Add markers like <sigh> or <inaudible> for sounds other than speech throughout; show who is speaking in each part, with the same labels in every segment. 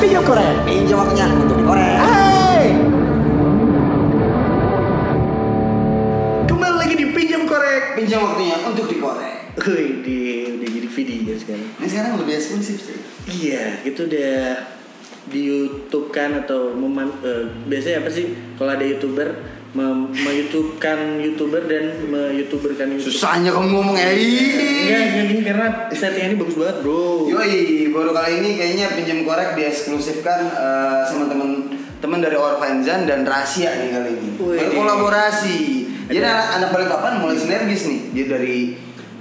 Speaker 1: dikorek.
Speaker 2: Pinjam waktunya untuk dikorek.
Speaker 1: Hey!
Speaker 3: Kembali lagi di pinjam korek.
Speaker 2: Pinjam waktunya untuk dikorek.
Speaker 3: Wih, di- udah jadi video sekarang.
Speaker 2: Ini sekarang lebih eksklusif sih.
Speaker 3: Iya, itu udah di YouTube kan atau meman, eh, biasanya apa sih kalau ada youtuber mem- me-youtubekan youtuber dan me-youtuberkan youtuber.
Speaker 2: Susahnya kamu ngomong ya.
Speaker 3: Enggak, enggak gini karena settingannya bagus banget, Bro.
Speaker 2: Yoi, baru kali ini kayaknya pinjam korek dieksklusifkan eh, sama temen teman dari Orfanzan dan Rahasia nih kali ini.
Speaker 3: Wih.
Speaker 2: Berkolaborasi. Jadi anak, anak Balikpapan mulai sinergis nih. Dia dari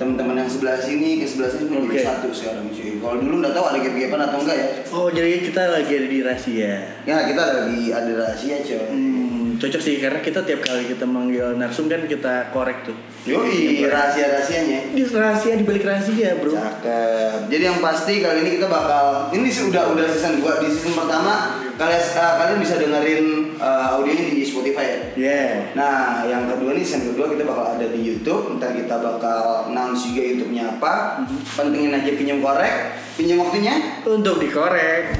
Speaker 2: teman-teman yang sebelah sini ke sebelah sini menjadi
Speaker 3: Oke.
Speaker 2: satu sekarang cuy. Kalau dulu nggak tahu ada gap-gapan atau enggak ya.
Speaker 3: Oh, jadi kita lagi ada di rahasia.
Speaker 2: Ya kita lagi ada Rahasia coy.
Speaker 3: Hmm, cocok sih karena kita tiap kali kita manggil narsum kan kita korek tuh. Iya,
Speaker 2: Yoi, rahasia-rahasianya.
Speaker 3: Di rahasia di balik rahasia, Bro.
Speaker 2: Cakep. Jadi yang pasti kali ini kita bakal ini sih udah udah season 2 di season pertama kalian eh, kalian bisa dengerin eh, audionya di Spotify ya.
Speaker 3: Yeah.
Speaker 2: Nah, yang kedua nih season kedua kita bakal ada di YouTube. Ntar kita bakal announce juga YouTube-nya apa.
Speaker 3: Mhm.
Speaker 2: Pentingin aja pinjam korek, pinjam waktunya.
Speaker 3: Untuk dikorek.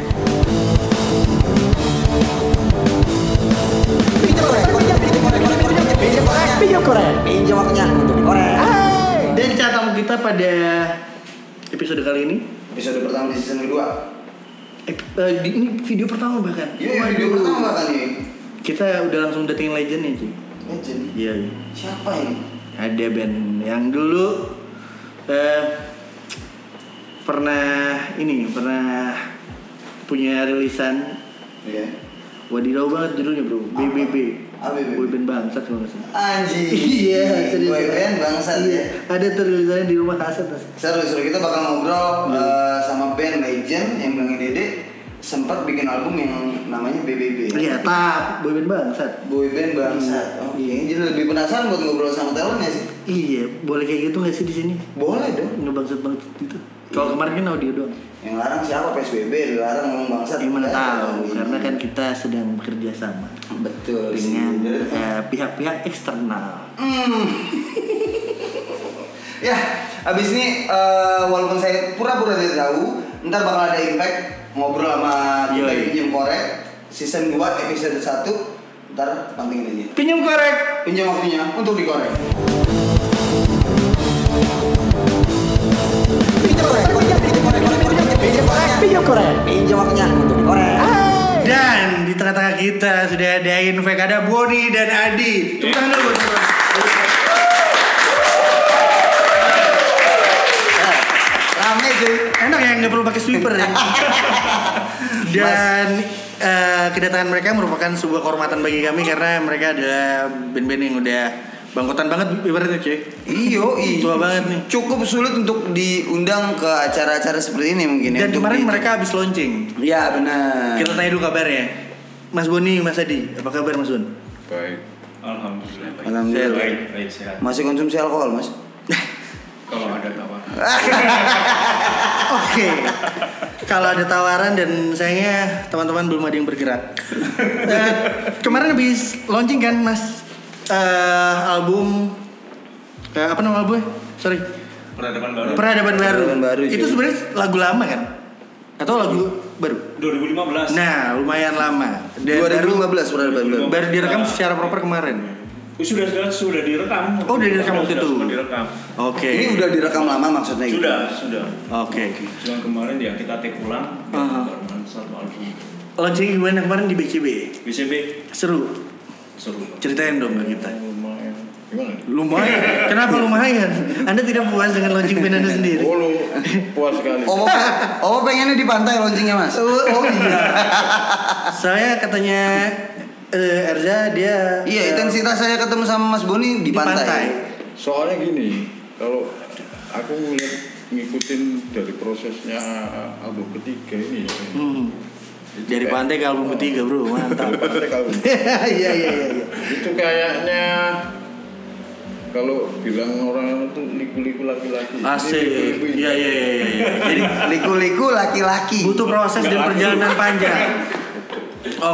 Speaker 2: Pinjam korek, pinjam korek, pinjam korek, pinjam korek,
Speaker 1: Video korek.
Speaker 2: pinjam waktunya untuk dikorek.
Speaker 1: Hey!
Speaker 3: Dan catatan kita pada episode kali ini,
Speaker 2: Episode pertama di season kedua.
Speaker 3: ep- eh, di- ini video pertama bahkan.
Speaker 2: Iya,
Speaker 3: Waduh.
Speaker 2: video pertama kan nih.
Speaker 3: Kita udah langsung dating legend ya, Ci.
Speaker 2: Legend.
Speaker 3: Iya. iya.
Speaker 2: Siapa ini?
Speaker 3: Ada band yang dulu eh, pernah ini pernah punya rilisan
Speaker 2: Iya.
Speaker 3: Wadidaw banget judulnya bro, BBB
Speaker 2: ABB.
Speaker 3: Boyband Bangsat kalau nggak salah
Speaker 2: Anjing.
Speaker 3: Iya, serius.
Speaker 2: Boy band bangsat
Speaker 3: Iya,
Speaker 2: ya.
Speaker 3: Ada terlisannya di rumah kaset Mas.
Speaker 2: Seru seru kita bakal
Speaker 3: Hmm.
Speaker 2: ngobrol eh, sama band Legend yang bilangin Dede sempat bikin album yang namanya BBB.
Speaker 3: Iya, tap, boyband Bangsat
Speaker 2: Boy band bangsat. Oke, jadi lebih penasaran buat ngobrol sama talentnya sih.
Speaker 3: Iya, boleh kayak gitu nggak sih di sini?
Speaker 2: Boleh dong.
Speaker 3: Ngebangsat banget gitu Kalau kemarin kan audio doang
Speaker 2: Yang larang siapa PSBB, dilarang ngomong bangsat.
Speaker 3: Yang mana
Speaker 2: Nggak ada
Speaker 3: tahu,
Speaker 2: gitu.
Speaker 3: karena kan kita sedang bekerja sama
Speaker 2: betul sih.
Speaker 3: Dengan
Speaker 2: Jadi-
Speaker 3: eh, pihak-pihak eksternal
Speaker 2: Hmm. ya, abis ini eh, walaupun saya pura-pura tidak tahu, ntar bakal ada impact ngobrol sama kita
Speaker 3: Yoi.
Speaker 2: pinjam korek season 2 episode 1 ntar pantengin aja.
Speaker 3: Pinjam korek!
Speaker 2: Pinjam waktunya untuk dikorek. Pinjam korek, pinjam korek, pinjam korek, pinjam korek,
Speaker 1: Video korek.
Speaker 2: pinjam waktunya untuk dikorek.
Speaker 1: Hey!
Speaker 3: Dan di tengah-tengah kita sudah ada Infek, ada Boni dan Adi Tepuk tangan dulu buat semua.
Speaker 2: Rame cuy.
Speaker 3: Enak ya nggak perlu pakai sweeper
Speaker 2: <laughs>
Speaker 3: ya. Dan eh, kedatangan mereka merupakan sebuah kehormatan bagi kami karena mereka adalah band-band yang udah bangkotan banget ibaratnya cuy.
Speaker 2: Iyo, iya.
Speaker 3: Tua banget nih.
Speaker 2: Cukup sulit untuk diundang ke acara-acara seperti ini mungkin. ya,
Speaker 3: Dan
Speaker 2: untuk
Speaker 3: kemarin
Speaker 2: di-
Speaker 3: mereka habis launching.
Speaker 2: Iya benar.
Speaker 3: Kita tanya dulu kabarnya. Mas Boni, Mas Adi, apa kabar Mas Bon?
Speaker 4: Baik. Alhamdulillah baik.
Speaker 2: Alhamdulillah.
Speaker 4: Baik, baik sehat.
Speaker 2: Masih konsumsi alkohol mas?
Speaker 4: Kalau ada tawaran.
Speaker 3: Oke. Kalau ada tawaran dan sayangnya teman-teman belum ada yang bergerak. Eh, kemarin habis launching kan Mas eh, album eh, apa nama albumnya? Sorry.
Speaker 4: Peradaban baru.
Speaker 3: Peradaban baru.
Speaker 2: Peradaban baru,
Speaker 3: Itu
Speaker 2: cuy.
Speaker 3: sebenarnya lagu lama kan? Atau lagu baru?
Speaker 4: 2015.
Speaker 3: Nah, lumayan lama. Dan baru
Speaker 2: 2015 pernah baru.
Speaker 3: baru direkam secara proper kemarin.
Speaker 4: Oh, sudah sudah sudah direkam.
Speaker 3: Oh, udah direkam waktu itu.
Speaker 4: Sudah direkam.
Speaker 3: Oke.
Speaker 2: Ini udah direkam lama maksudnya gitu.
Speaker 4: Sudah, sudah.
Speaker 3: Oke.
Speaker 4: Cuman kemarin ya kita take ulang
Speaker 3: Aha.
Speaker 4: barengan satu album.
Speaker 3: Launching gimana kemarin di BCB?
Speaker 4: BCB
Speaker 3: Seru.
Speaker 4: seru.
Speaker 3: Ceritain dong ke kita.
Speaker 4: Lumayan. Gimana?
Speaker 3: Lumayan. Kenapa lumayan? Anda tidak puas dengan launching band Anda sendiri?
Speaker 4: Bolu puas sekali.
Speaker 2: Omo, Omo pengennya di pantai launchingnya mas.
Speaker 3: <laughs> Oh, oh iya. Saya katanya eh, Erza dia eh,
Speaker 2: Iya intensitas saya ketemu sama Mas Boni di,
Speaker 3: di pantai.
Speaker 5: soalnya gini kalau aku ngeliat ngikutin dari prosesnya album ketiga ini ya.
Speaker 3: Hmm.
Speaker 5: Itu
Speaker 3: Dari
Speaker 5: kayak-
Speaker 3: pantai ke album ketiga, Bro. Mantap.
Speaker 5: Dari pantai ke album.
Speaker 3: <laughs> Iya iya iya iya.
Speaker 5: itu kayaknya kalau bilang orang itu liku-liku laki-laki Ini
Speaker 3: Asik.
Speaker 5: liku-liku ini.
Speaker 3: Iya iya iya iya. iya. Jadi
Speaker 2: Liku-liku laki-laki.
Speaker 3: butuh proses dan
Speaker 5: Nggak
Speaker 3: perjalanan panjang.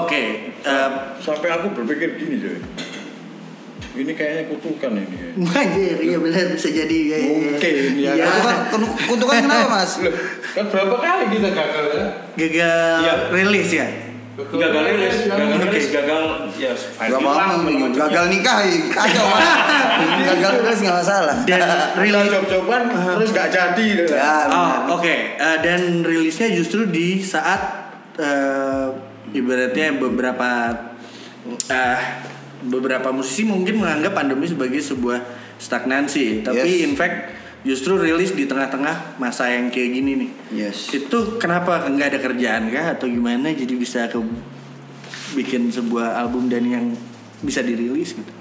Speaker 3: Oke. eh,
Speaker 5: sampai aku berpikir gini coy ini kayaknya kutukan ini. ya.
Speaker 3: Anjir, iya benar bisa jadi. Iya, iya, iya.
Speaker 5: Mungkin, ya.
Speaker 3: Iya.
Speaker 2: Kuntukan, kun- kuntukan kenapa
Speaker 3: <laughs>
Speaker 2: mas?
Speaker 5: Loh, kan berapa kali kita gagal ya?
Speaker 3: Gagal
Speaker 4: Iya.
Speaker 3: rilis ya.
Speaker 4: Gagal
Speaker 5: Iya,
Speaker 4: rilis, gagal rilis, gagal ya
Speaker 2: Gak
Speaker 4: viral,
Speaker 2: apa-apa,
Speaker 4: mendingan.
Speaker 2: gagal nikah, ya. kacau
Speaker 3: <laughs>
Speaker 2: mas. Gagal terus nggak masalah.
Speaker 3: Dan <laughs> rilis
Speaker 5: coba-cobaan terus gak jadi. gitu.
Speaker 2: Ya, benar.
Speaker 3: Oh, oke. Eh, dan rilisnya justru di saat eh, ibaratnya beberapa eh, beberapa musisi mungkin menganggap pandemi sebagai sebuah stagnansi, tapi
Speaker 2: Yes.
Speaker 3: in fact justru rilis di tengah-tengah masa yang kayak gini nih.
Speaker 2: Yes.
Speaker 3: Itu kenapa nggak ada kerjaan kah atau gimana jadi bisa ke bikin sebuah album dan yang bisa dirilis gitu.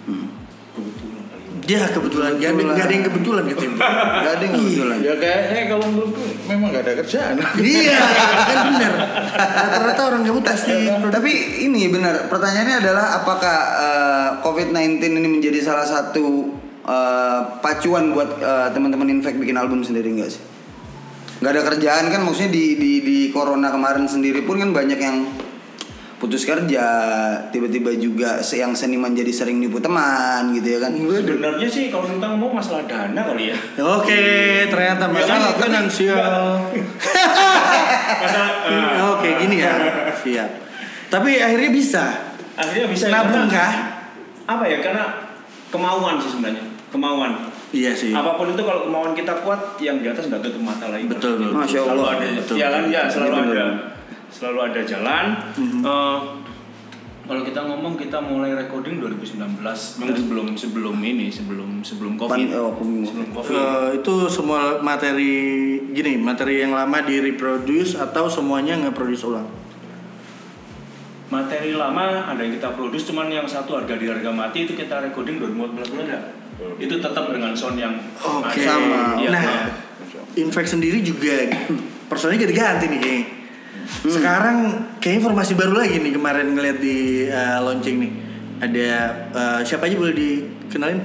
Speaker 3: Ya kebetulan, Nggak ada- nggak ada yang kebetulan gitu. <laughs>
Speaker 2: Gak ada yang kebetulan.
Speaker 5: Ya kayaknya kalau menurutku memang gak ada kerjaan.
Speaker 3: iya kan bener rata-rata orang kamu pasti
Speaker 2: Tapi ini benar. Pertanyaannya adalah apakah eh, COVID-19 ini menjadi salah satu eh, pacuan buat eh, teman-teman Infect bikin album sendiri enggak sih? Nggak ada kerjaan kan maksudnya di, di di corona kemarin sendiri pun kan banyak yang putus kerja, tiba-tiba juga se- yang seniman jadi sering nipu teman gitu ya kan.
Speaker 4: Sebenarnya sih kalau kita ngomong masalah dana kali ya.
Speaker 3: oke ternyata masalah finansial
Speaker 4: Masalah eh,
Speaker 3: <laughs> oke gini ya siap tapi akhirnya bisa
Speaker 4: akhirnya bisa ya,
Speaker 3: nabung
Speaker 4: karena-
Speaker 3: kah
Speaker 4: Apa ya? Karena kemauan sih sebenarnya. Kemauan.
Speaker 3: iya sih
Speaker 4: Apapun itu kalau kemauan kita kuat, yang di atas nggak tutup mata lagi.
Speaker 3: Betul, betul.
Speaker 2: Masya
Speaker 4: Selalu
Speaker 2: Allah.
Speaker 4: ada
Speaker 3: Betul,
Speaker 4: jalan
Speaker 3: betul.
Speaker 4: ya, selalu
Speaker 2: Ini benar.
Speaker 4: ada. Selalu ada jalan. Eh, kalau kita ngomong kita mulai recording 2019 sebelum sebelum ini sebelum sebelum covid
Speaker 2: Pan- eh, aku-
Speaker 4: sebelum covid
Speaker 3: oh, Eh, itu semua materi gini materi yang lama di reproduce atau semuanya nggak produce ulang
Speaker 4: materi lama ada yang kita produce cuman yang satu harga di harga mati itu kita recording 2014 ada itu tetap dengan sound yang
Speaker 3: Oke.
Speaker 2: Sama.
Speaker 4: Iya,
Speaker 3: Nah,
Speaker 4: iya.
Speaker 3: Infect sendiri juga personalnya ganti-ganti nih kayaknya. Sekarang kayaknya informasi baru lagi nih kemarin ngeliat di eh, launching nih. Ada eh, siapa aja boleh dikenalin?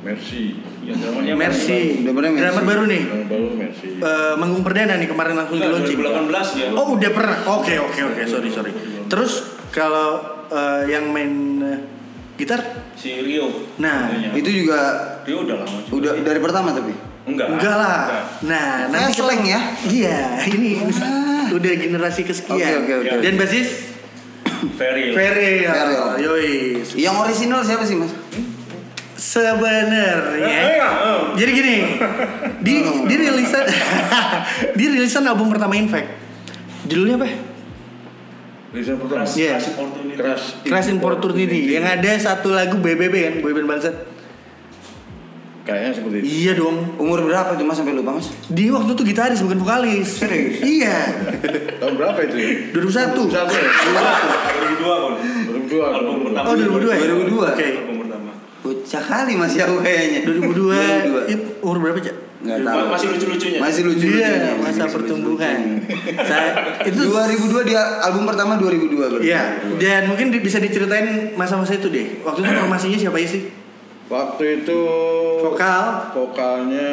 Speaker 5: Mercy.
Speaker 4: Ya, namanya
Speaker 3: Mercy.
Speaker 2: Drummernya Mercy.
Speaker 3: Drummer baru nih.
Speaker 5: Yang baru Mercy.
Speaker 3: Eh, manggung perdana nih kemarin langsung di
Speaker 4: Enggak,
Speaker 3: launching.
Speaker 4: 2018 ya.
Speaker 3: Oh, udah pernah. Oke, oke, oke. Sorry, sorry. Terus kalau eh, yang main eh, gitar
Speaker 4: Si Rio.
Speaker 3: Nah,
Speaker 4: Namanya.
Speaker 2: Itu juga
Speaker 4: Rio udah lama juga.
Speaker 2: udah dari pertama tapi.
Speaker 4: enggak.
Speaker 3: enggak
Speaker 4: Enggak.
Speaker 3: lah. Nah,
Speaker 2: Saya
Speaker 3: nanti
Speaker 2: seleng ya. Ah.
Speaker 3: Iya, ini udah generasi kesekian.
Speaker 2: Oke, Iya. oke,
Speaker 4: oke.
Speaker 3: Dan basis
Speaker 4: Ferry.
Speaker 3: Ferry
Speaker 2: Feril.
Speaker 3: Yoi.
Speaker 2: Yang original siapa sih mas?
Speaker 4: Eh,
Speaker 3: Sebenarnya.
Speaker 4: iya, eh.
Speaker 3: Jadi gini, di
Speaker 2: Oh.
Speaker 3: di <laughs> rilisan di rilisan album pertama Infect. Judulnya apa?
Speaker 5: Lisa pertama.
Speaker 4: Keras-
Speaker 3: Iya.
Speaker 4: keras opportunity.
Speaker 5: Keras.
Speaker 3: Crash in Opportunity. Yang ada satu lagu BBB kan, boyband Bangsat.
Speaker 5: Kayaknya seperti itu.
Speaker 3: Iya dong.
Speaker 2: Umur berapa itu mas sampai lupa mas?
Speaker 3: Di waktu itu gitaris bukan vokalis.
Speaker 2: Serius? <laughs>
Speaker 3: Iya.
Speaker 5: Tahun berapa itu ya?
Speaker 3: 2001.
Speaker 5: Satu ya?
Speaker 4: Dua, 2002 kon.
Speaker 5: Berdua.
Speaker 4: Album pertama.
Speaker 3: Oh, 2002 ya?
Speaker 2: 2002.
Speaker 3: Oke.
Speaker 4: Album pertama.
Speaker 2: Bocah kali mas ya kayaknya 2002.
Speaker 3: 2002. It- Umur berapa, Cak?
Speaker 2: Nggak tahu.
Speaker 4: Masih lucu-lucunya.
Speaker 2: Masih lucu
Speaker 3: Iya, masa pertumbuhan. Saya
Speaker 2: Itu
Speaker 3: itu
Speaker 2: 2002 dia album pertama 2002 berarti.
Speaker 3: Iya, dan mungkin di- bisa diceritain masa-masa itu deh. Waktu itu formasinya siapa aja sih?
Speaker 5: Waktu itu...
Speaker 3: Vokal.
Speaker 5: Vokalnya...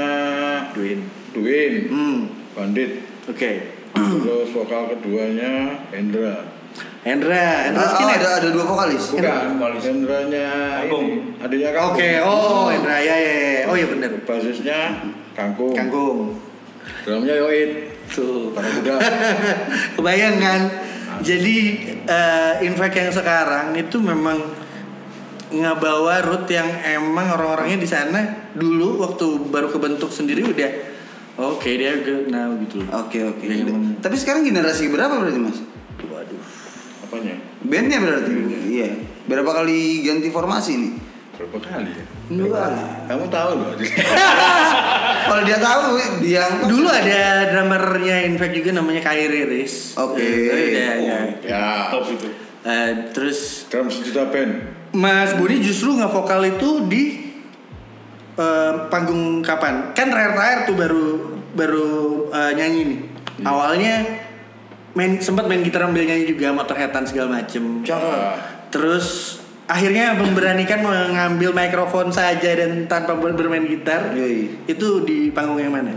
Speaker 3: Duin.
Speaker 5: Duin.
Speaker 3: Hmm,
Speaker 5: Bandit.
Speaker 3: oke.
Speaker 5: Terus vokal keduanya Hendra.
Speaker 3: Hendra, ya? Hendra
Speaker 2: Ah, ah,
Speaker 3: Skinner.
Speaker 2: ada ada dua vokalis.
Speaker 5: Bukan,
Speaker 4: vokalis.
Speaker 5: Hendranya
Speaker 4: Kangkung.
Speaker 5: ini. Adiknya Kangkung.
Speaker 3: Oke, oh
Speaker 2: Hmm.
Speaker 3: Hendra ya ya. ya. Oh iya benar.
Speaker 5: Basisnya
Speaker 2: Hmm.
Speaker 5: Kangkung.
Speaker 3: Kangkung.
Speaker 5: Drumnya Yoit.
Speaker 3: Tuh.
Speaker 5: Para kuda.
Speaker 3: Kebayang kan? Jadi eh infek yang sekarang itu memang ngebawa root yang emang orang-orangnya di sana dulu waktu baru kebentuk sendiri udah oke dia good now gitu.
Speaker 2: Oke oke.
Speaker 3: Iya, emang.
Speaker 2: Tapi sekarang generasi berapa berarti mas?
Speaker 3: Waduh.
Speaker 5: Apanya?
Speaker 2: Bandnya berarti. Iya. Berapa kali ganti formasi nih?
Speaker 5: Berapa kali ya?
Speaker 2: Dua.
Speaker 5: Kamu tahu loh.
Speaker 2: Kalau dia tahu dia angkat.
Speaker 3: Dulu ada drummernya Infect juga namanya Kairi Riz.
Speaker 2: Oke.
Speaker 3: Eh, ada,
Speaker 4: Oh.
Speaker 3: ada.
Speaker 5: ya.
Speaker 4: Top itu.
Speaker 3: Eh, terus
Speaker 5: Drum sejuta band.
Speaker 3: Mas Budi justru vokal itu di eh, panggung kapan? Kan rare rare tuh baru baru eh, nyanyi nih. Awalnya main sempat main gitar ambil nyanyi juga motor hetan segala macem.
Speaker 5: Cakep.
Speaker 3: Terus akhirnya memberanikan mengambil mikrofon saja dan tanpa ber- bermain gitar.
Speaker 2: Yoi.
Speaker 3: Itu di panggung yang mana?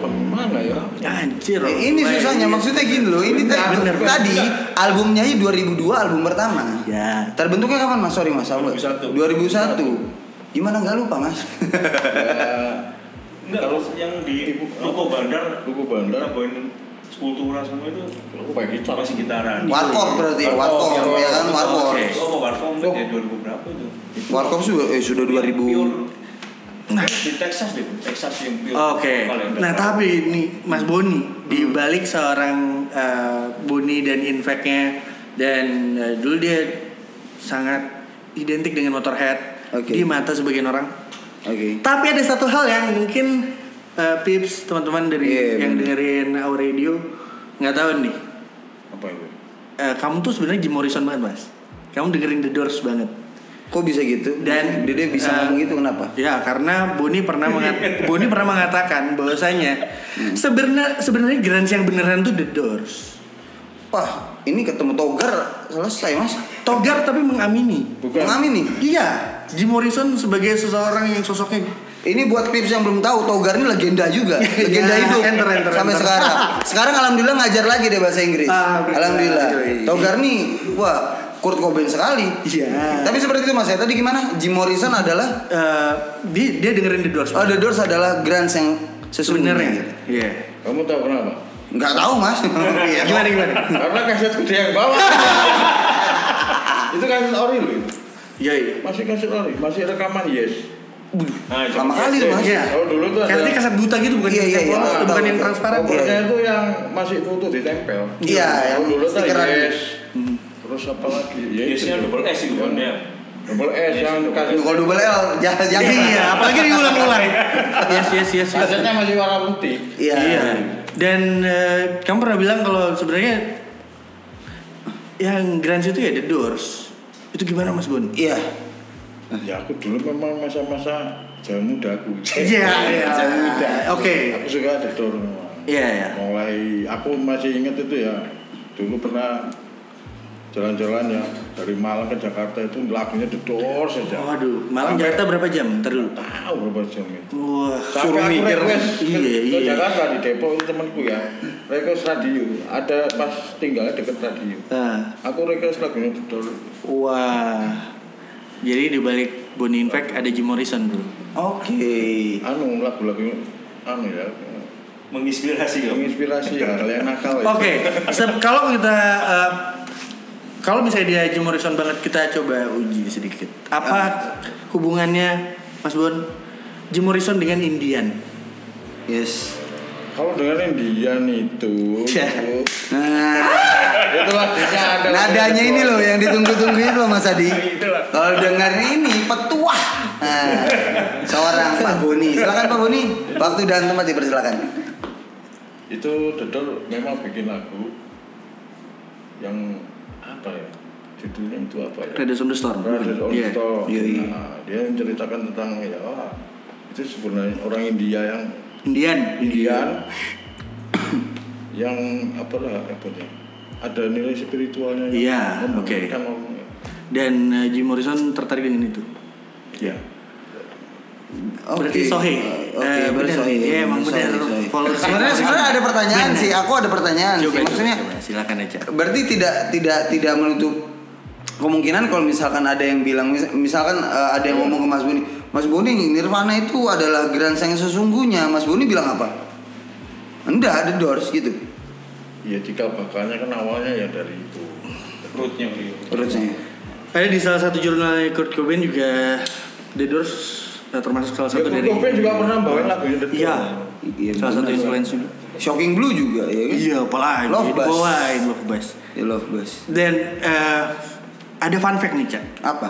Speaker 5: Pernah mana ya?
Speaker 3: Anjir.
Speaker 2: Eh, ini
Speaker 3: Roy.
Speaker 2: susahnya maksudnya gini loh. Ini tadi,
Speaker 3: Nah, Bener, bener. Iya.
Speaker 2: tadi albumnya aja 2002 album pertama.
Speaker 3: Ya.
Speaker 2: Terbentuknya kapan Mas? Sorry Mas, apa?
Speaker 4: 2001.
Speaker 2: 2001. Gimana nggak lupa Mas?
Speaker 4: Enggak,
Speaker 5: Kalau-
Speaker 4: yang di
Speaker 5: Ibu-
Speaker 4: Loko Bandar,
Speaker 5: Luku bandar,
Speaker 4: Boin Skulptura semua itu
Speaker 5: aku pakai gitar.
Speaker 4: masih gitaran.
Speaker 2: Warkop berarti,
Speaker 5: Warkop,
Speaker 2: Warkop ya kan Warkop.
Speaker 5: Oke.
Speaker 4: Oh, Warkop
Speaker 5: Oh.
Speaker 4: ya 2000 berapa itu?
Speaker 2: Warkop sudah eh sudah 2000.
Speaker 4: Nah, di Texas deh, Texas yang pure.
Speaker 3: Oke.
Speaker 4: kalender.
Speaker 3: Nah tapi ini Mas Boni
Speaker 2: Hmm.
Speaker 3: di balik seorang eh, Boni dan Infeknya dan eh, dulu dia sangat identik dengan Motorhead
Speaker 2: Oke.
Speaker 3: di mata sebagian orang.
Speaker 2: Oke.
Speaker 3: Tapi ada satu hal yang mungkin eh, Pips teman-teman dari
Speaker 2: Iya,
Speaker 3: yang
Speaker 2: bener.
Speaker 3: dengerin Our Radio nggak tahu nih.
Speaker 5: Apa itu?
Speaker 3: Eh, kamu tuh sebenarnya Jim Morrison banget mas. Kamu dengerin The Doors banget.
Speaker 2: Kok bisa gitu?
Speaker 3: Dan,
Speaker 2: dia bisa
Speaker 3: eh,
Speaker 2: ngomong gitu kenapa?
Speaker 3: Ya karena Boni pernah
Speaker 2: <laughs>
Speaker 3: mengat Boni pernah mengatakan bahwasanya
Speaker 2: Hmm.
Speaker 3: sebenarnya sebenarnya grunge yang beneran tuh The Doors.
Speaker 2: Wah, ini ketemu Togar selesai Mas.
Speaker 3: Togar tapi mengamini.
Speaker 5: Bukan.
Speaker 2: Ngamin nih.
Speaker 3: Iya, Jim Morrison sebagai seseorang yang sosoknya
Speaker 2: Ini buat Pips yang belum tahu, Togar ini legenda juga, legenda
Speaker 3: <laughs> Iya,
Speaker 2: hidup
Speaker 3: enter, enter,
Speaker 2: sampai
Speaker 3: enter.
Speaker 2: sekarang. Sekarang alhamdulillah ngajar lagi deh bahasa Inggris.
Speaker 3: Ah, Alhamdulillah. Iya.
Speaker 2: alhamdulillah.
Speaker 3: Yoi.
Speaker 2: Togar nih, wah Kurt Cobain sekali.
Speaker 3: Iya.
Speaker 2: Tapi seperti itu Mas ya. Tadi gimana? Jim Morrison adalah
Speaker 3: eh, dia, dia dengerin The Doors.
Speaker 2: oh, The Doors adalah Grants yang
Speaker 3: sebenarnya.
Speaker 2: sesungguhnya.
Speaker 3: Iya.
Speaker 5: Kamu tahu kenapa?
Speaker 2: Nggak tahu Mas.
Speaker 3: <laughs>
Speaker 2: Iya.
Speaker 3: Gimana gimana?
Speaker 5: Karena kasetku dia yang bawa. itu kaset ori loh. itu.
Speaker 3: Iya. iya.
Speaker 5: Masih kaset ori, masih rekaman yes.
Speaker 4: Nah, itu
Speaker 2: Lama kali tuh Mas.
Speaker 3: Iya.
Speaker 5: Oh, dulu tuh ada-
Speaker 3: Kasetnya kaset buta gitu bukan
Speaker 2: Iya,
Speaker 3: kaset
Speaker 2: iya, iya.
Speaker 3: polos,
Speaker 2: Tahu,
Speaker 3: bukan
Speaker 2: tahu,
Speaker 3: yang
Speaker 2: tahu.
Speaker 3: transparan. ya? Iya,
Speaker 2: Oke.
Speaker 5: Covernya itu yang masih foto ditempel.
Speaker 2: Iya, yang
Speaker 5: Oh, dulu tuh
Speaker 2: stikeran.
Speaker 5: yes. Terus apa lagi? Ya itu. Iya.
Speaker 4: Biasanya double S itu kan ya.
Speaker 5: Double S
Speaker 4: Yes,
Speaker 5: yang
Speaker 4: double
Speaker 5: kaset.
Speaker 2: Kalau double L jangan jangan.
Speaker 3: Iya, apalagi
Speaker 2: <laughs>
Speaker 3: diulang-ulang. yes, yes, yes. yes.
Speaker 5: Kasetnya masih warna putih.
Speaker 2: Iya.
Speaker 3: Iya. Dan eh, kamu pernah bilang kalau sebenarnya yang Grunge itu ya The Doors. Itu gimana Mas Bon?
Speaker 2: Iya.
Speaker 5: Ya aku dulu memang masa-masa jam muda aku.
Speaker 3: Iya, iya.
Speaker 5: Jam muda.
Speaker 3: Oke.
Speaker 5: Aku suka ada dor memang.
Speaker 3: Iya, iya.
Speaker 5: mulai aku masih ingat itu ya dulu pernah jalan-jalan ya dari Malang ke Jakarta itu lagunya The Doors saja
Speaker 3: Waduh, malam Jakarta berapa jam? Ntar dulu.
Speaker 5: tahu berapa jam itu
Speaker 3: Wah,
Speaker 5: Sampai
Speaker 3: suruh
Speaker 5: aku
Speaker 3: mikir.
Speaker 5: request ke-
Speaker 3: Iya,
Speaker 5: ke
Speaker 3: iya.
Speaker 5: Jakarta di Depok itu temanku ya request radio ada pas tinggalnya deket radio
Speaker 3: Ah.
Speaker 5: aku request lagunya The Doors
Speaker 3: Wah. Jadi di balik Bonnie Infect ada Jim Morrison, Bro.
Speaker 2: Oke.
Speaker 5: anu lagu-lagu anu ya
Speaker 4: Menginspirasi kamu.
Speaker 5: menginspirasi ya kalian nakal ya.
Speaker 3: Oke, se- kalau kita eh, kalau misalnya dia Jim Morrison banget kita coba uji sedikit.
Speaker 5: Ah.
Speaker 3: Apa hubungannya Mas Bon Jim Morrison dengan Indian?
Speaker 2: Yes.
Speaker 5: kalau dengerin Dian itu
Speaker 3: Ya.
Speaker 5: itu
Speaker 2: Nah,
Speaker 3: Iya,
Speaker 5: lagunya ada
Speaker 2: nadanya ini loh yang ditunggu-tunggu itu loh Mas
Speaker 3: <laughs>
Speaker 2: Adi. Kalau dengar ini petuah. Nah, seorang Pak Boni. Silakan Pak Boni. Waktu dan tempat dipersilakan.
Speaker 5: itu Dedor memang bikin lagu yang apa ya judulnya itu apa ya
Speaker 3: Red on the Storm.
Speaker 5: Brothers on
Speaker 3: Iya.
Speaker 5: Top.
Speaker 2: Iya, iya.
Speaker 5: Nah, dia menceritakan tentang ya wah, itu sebenarnya orang India yang
Speaker 3: Indian. <coughs>
Speaker 5: Indian yang apalah apanya ada nilai spiritualnya yang
Speaker 3: Iya, oke.
Speaker 5: membangkitkan orang.
Speaker 3: Dan eh, Jim Morrison tertarik dengan itu.
Speaker 5: Iya.
Speaker 3: Oh, Berarti Sohe.
Speaker 2: Oke,
Speaker 3: Eh,
Speaker 2: berarti
Speaker 3: bener.
Speaker 2: Sohe.
Speaker 3: Iya, emang
Speaker 2: Sohe,
Speaker 3: bener.
Speaker 2: Sohe.
Speaker 3: Followers-
Speaker 2: Sebenarnya sebenarnya ada pertanyaan
Speaker 3: Bener.
Speaker 2: sih. Aku ada pertanyaan
Speaker 5: Ah,
Speaker 3: Coba,
Speaker 2: sih.
Speaker 3: coba,
Speaker 2: Maksudnya
Speaker 3: coba. silakan aja.
Speaker 2: berarti tidak tidak tidak menutup kemungkinan kalau misalkan ada yang bilang mis- misalkan eh, ada yang
Speaker 3: Iya.
Speaker 2: ngomong ke Mas Boni, Mas Boni Nirvana itu adalah grand yang sesungguhnya. Mas Boni bilang apa? Enggak, ada Doors gitu.
Speaker 5: Iya, cikal bakalnya kan awalnya ya dari
Speaker 3: <laughs>
Speaker 5: itu.
Speaker 4: Rootnya beliau.
Speaker 2: Menurut saya.
Speaker 3: Ada di salah satu jurnal Kurt Cobain juga The Doors eh, termasuk salah
Speaker 5: Ya,
Speaker 3: satu dari
Speaker 5: Kurt Cobain juga pernah bawain lagunya The
Speaker 3: Iya.
Speaker 2: Iya,
Speaker 3: salah satu
Speaker 2: benar.
Speaker 3: influence juga.
Speaker 2: Shocking Blue juga ya kan?
Speaker 3: Iya, apalagi
Speaker 2: Love Bus.
Speaker 3: dibawain Love Bus.
Speaker 2: I love Bus.
Speaker 3: Dan eh, ada fun fact nih, Cak.
Speaker 2: Apa?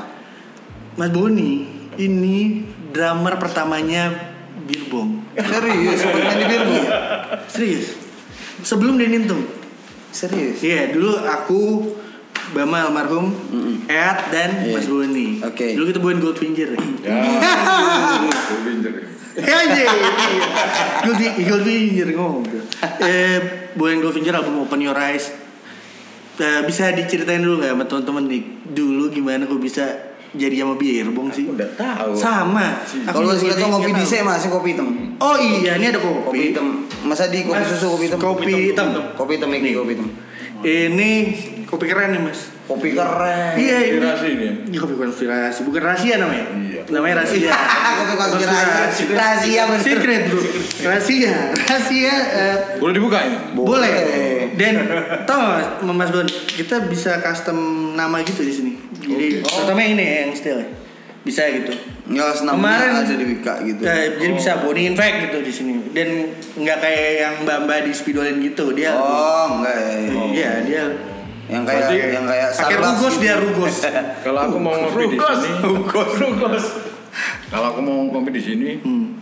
Speaker 3: Mas Boni ini drummer pertamanya Birbom.
Speaker 2: Serius, sempat main di Birmo.
Speaker 3: Serius. Sebelum dia Nintum.
Speaker 2: Serius.
Speaker 3: Iya, dulu aku Bama almarhum, Ed dan
Speaker 2: Iya.
Speaker 3: Mas Boni.
Speaker 2: Oke.
Speaker 3: Dulu kita bawain Goldfinger. Ya.
Speaker 5: Ya. Itu pinjol.
Speaker 3: Anjir. iya. Goldie, Goldfinger ngomong. Eh, Boyan Goldfinger album Open Your Eyes. Eh, bisa diceritain dulu nggak sama teman-teman nih dulu gimana gue bisa jadi sama Bierbong sih?
Speaker 5: Aku nggak tahu.
Speaker 3: Sama. Aku
Speaker 2: Kalau
Speaker 3: juga
Speaker 2: kita
Speaker 3: nggak
Speaker 2: ngopi di
Speaker 3: tahu.
Speaker 2: saya masih kopi hitam.
Speaker 3: Oh iya, ini ada kopi.
Speaker 2: Kopi hitam. Masa di kopi
Speaker 3: Mas,
Speaker 2: susu kopi hitam?
Speaker 3: kopi hitam.
Speaker 2: Kopi hitam ini
Speaker 3: Nih.
Speaker 2: kopi hitam.
Speaker 3: Ini kopi keren nih mas.
Speaker 2: Kopi keren.
Speaker 3: Iya ini.
Speaker 5: Inspirasi ini.
Speaker 3: Ini kopi konspirasi, bukan rahasia namanya.
Speaker 5: Iya.
Speaker 3: Namanya rahasia.
Speaker 2: Ah, kopi konspirasi. Rahasia bener.
Speaker 3: Secret bro. Rahasia, rahasia. eh,
Speaker 5: Boleh dibuka ini?
Speaker 3: boleh.
Speaker 2: <laughs>
Speaker 3: Dan tau nggak, Mas Mas Bon, kita bisa custom nama gitu di sini. Jadi terutama ini ya, yang style ya. bisa gitu.
Speaker 2: Ya, senam
Speaker 3: Kemarin-
Speaker 2: ada di Wika gitu.
Speaker 3: Eh, jadi bisa body infect gitu di sini. Dan nggak kayak yang Bamba di spidolin gitu dia.
Speaker 2: Oh, enggak ya.
Speaker 3: Iya dia.
Speaker 2: Yang kayak
Speaker 5: Berarti
Speaker 2: yang kayak
Speaker 3: Pakai
Speaker 2: Starbucks
Speaker 3: rugos
Speaker 2: gitu.
Speaker 3: dia
Speaker 2: <laughs>
Speaker 3: rugos.
Speaker 5: Kalau aku mau ngopi di sini, kalau aku mau ngopi di sini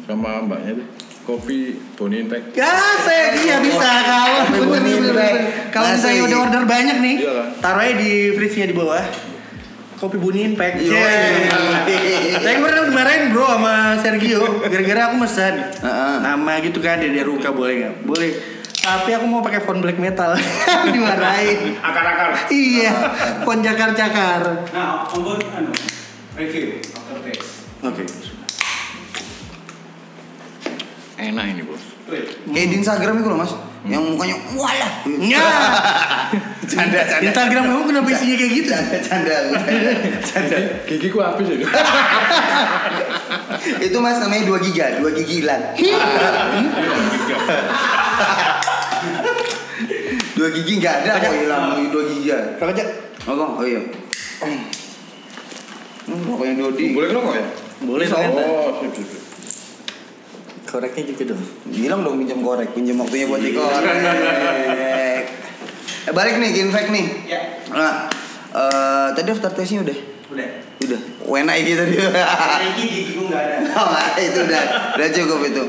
Speaker 5: sama mbaknya tuh kopi Boni Impact.
Speaker 3: Ya, saya dia bisa kalau
Speaker 2: Tapi
Speaker 3: bener,
Speaker 2: bunyi
Speaker 3: bener,
Speaker 2: baik.
Speaker 3: bener. Kalau
Speaker 2: Masih.
Speaker 3: misalnya udah order banyak nih,
Speaker 5: Iya lah.
Speaker 3: taruh aja di fridge-nya di bawah. Kopi bunyiin pack.
Speaker 2: Iya.
Speaker 3: Saya kemarin kemarin bro sama Sergio, gara-gara aku mesen
Speaker 2: Heeh.
Speaker 3: nama gitu kan dari Ruka boleh nggak? Boleh. Tapi aku mau pakai font black metal <laughs> dimarahin.
Speaker 4: akar-akar.
Speaker 3: iya, font cakar-cakar.
Speaker 1: Nah, Om Bon, anu, review after taste.
Speaker 3: Oke.
Speaker 5: Enak ini bos.
Speaker 2: Kayak di Instagram Eh, itu loh, Mas. Yang mukanya walah.
Speaker 3: Ya.
Speaker 2: <laughs> Canda, canda.
Speaker 3: Instagram kamu kenapa isinya kayak gitu?
Speaker 2: Canda, canda, canda, canda.
Speaker 5: Gigiku habis itu.
Speaker 2: Itu Mas namanya dua giga, dua gigilan. <laughs> Dua gigi enggak ada kok hilang dua giga.
Speaker 3: Rokok aja.
Speaker 2: Oh, oh iya. Hmm, rokoknya Dodi.
Speaker 5: Boleh ngerokok ya?
Speaker 3: Boleh ternyata.
Speaker 5: <laughs> Oh, sip, sip, sip.
Speaker 3: Koreknya juga dong.
Speaker 2: gitu, Bilang dong pinjam korek, pinjam waktunya buat dikorek. <laughs> eh, balik nih, infek nih.
Speaker 1: Ya.
Speaker 2: Nah, eh, tadi after taste-nya udah.
Speaker 1: Udah.
Speaker 2: Udah. Wena gitu tadi.
Speaker 1: Nah, ini gigiku nggak ada.
Speaker 2: <laughs> Oh, itu udah, udah cukup itu.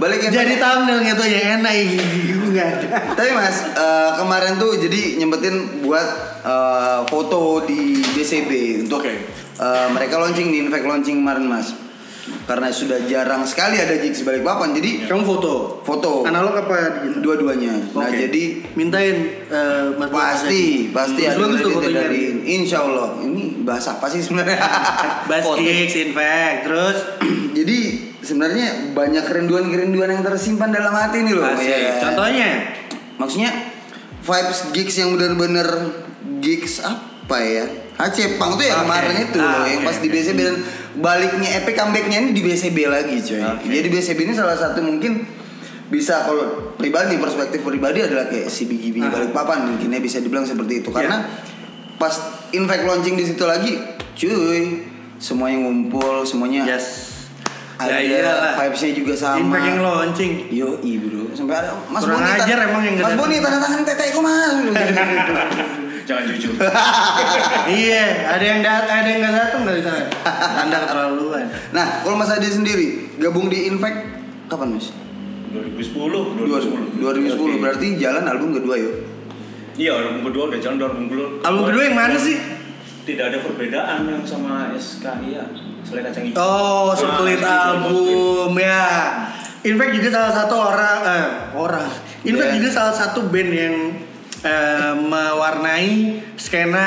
Speaker 2: Balik infek.
Speaker 3: Jadi thumbnailnya tuh yang enak ini juga.
Speaker 2: Tapi mas, eh, kemarin tuh jadi nyempetin buat eh, foto di BCB untuk eh, mereka launching di Infect launching kemarin mas. Karena sudah jarang sekali ada gigs balik papan, jadi
Speaker 3: Kamu foto.
Speaker 2: foto
Speaker 3: Analog apa digital?
Speaker 2: dua-duanya. Nah
Speaker 3: Oke.
Speaker 2: jadi
Speaker 3: mintain eh, Mas Bung
Speaker 2: pasti pasti ada
Speaker 3: Mas Hmm, Bagus tuh
Speaker 2: kreditnya
Speaker 3: fotonya.
Speaker 2: dari Insya Allah ini bahasa apa sih
Speaker 3: <laughs>
Speaker 2: sebenarnya? Foto.
Speaker 3: Baskix, Infect, terus
Speaker 2: jadi sebenarnya banyak kerinduan-kerinduan yang tersimpan dalam hati nih loh.
Speaker 3: Asik.
Speaker 2: Iya.
Speaker 3: Contohnya
Speaker 2: maksudnya vibes gigs yang bener-bener gigs apa ya HC Pang tuh ya
Speaker 3: Oke.
Speaker 2: kemarin itu loh,
Speaker 3: Ah,
Speaker 2: yang
Speaker 3: oke,
Speaker 2: pas di
Speaker 3: oke.
Speaker 2: BCB dan baliknya epic comebacknya ini di BCB lagi coy
Speaker 3: Oke.
Speaker 2: jadi BCB ini salah satu mungkin bisa kalau pribadi perspektif pribadi adalah kayak si Bigi Bigi
Speaker 3: Ah. Iya.
Speaker 2: balik papan mungkin ya bisa dibilang seperti itu karena pas infect launching di situ lagi cuy semuanya ngumpul semuanya
Speaker 3: yes.
Speaker 2: Ya. ada
Speaker 3: Ya iyalah.
Speaker 2: vibesnya juga sama
Speaker 3: Infect yang
Speaker 2: <laughs>
Speaker 3: launching.
Speaker 2: Yo, iya bro. Sampai ada Mas
Speaker 3: Kurang
Speaker 2: Boni.
Speaker 3: ajar
Speaker 2: tan-
Speaker 3: emang yang
Speaker 2: Mas
Speaker 3: nggak
Speaker 2: Boni
Speaker 3: datang.
Speaker 2: tanda tangan tetekku Mas.
Speaker 3: <laughs>
Speaker 4: Jangan jujur.
Speaker 3: iya, ada yang dat ada yang enggak datang dari sana. Anda keterlaluan.
Speaker 2: nah, kalau Mas Adi sendiri gabung di Infect kapan Mas? 2010.
Speaker 4: 2010,
Speaker 2: 2010
Speaker 3: Oke.
Speaker 2: berarti jalan album kedua yuk.
Speaker 4: Iya, album kedua udah jalan, album kedua.
Speaker 3: Album kedua yang mana sih?
Speaker 4: Tidak ada perbedaan yang sama SKI ya. Selain kacang hijau.
Speaker 3: Oh,
Speaker 4: Nah,
Speaker 3: sepelit
Speaker 4: itu sepelit.
Speaker 3: album ya. Infect juga salah satu orang eh, orang. Infect
Speaker 2: Yeah.
Speaker 3: juga salah satu band yang eh, mewarnai skena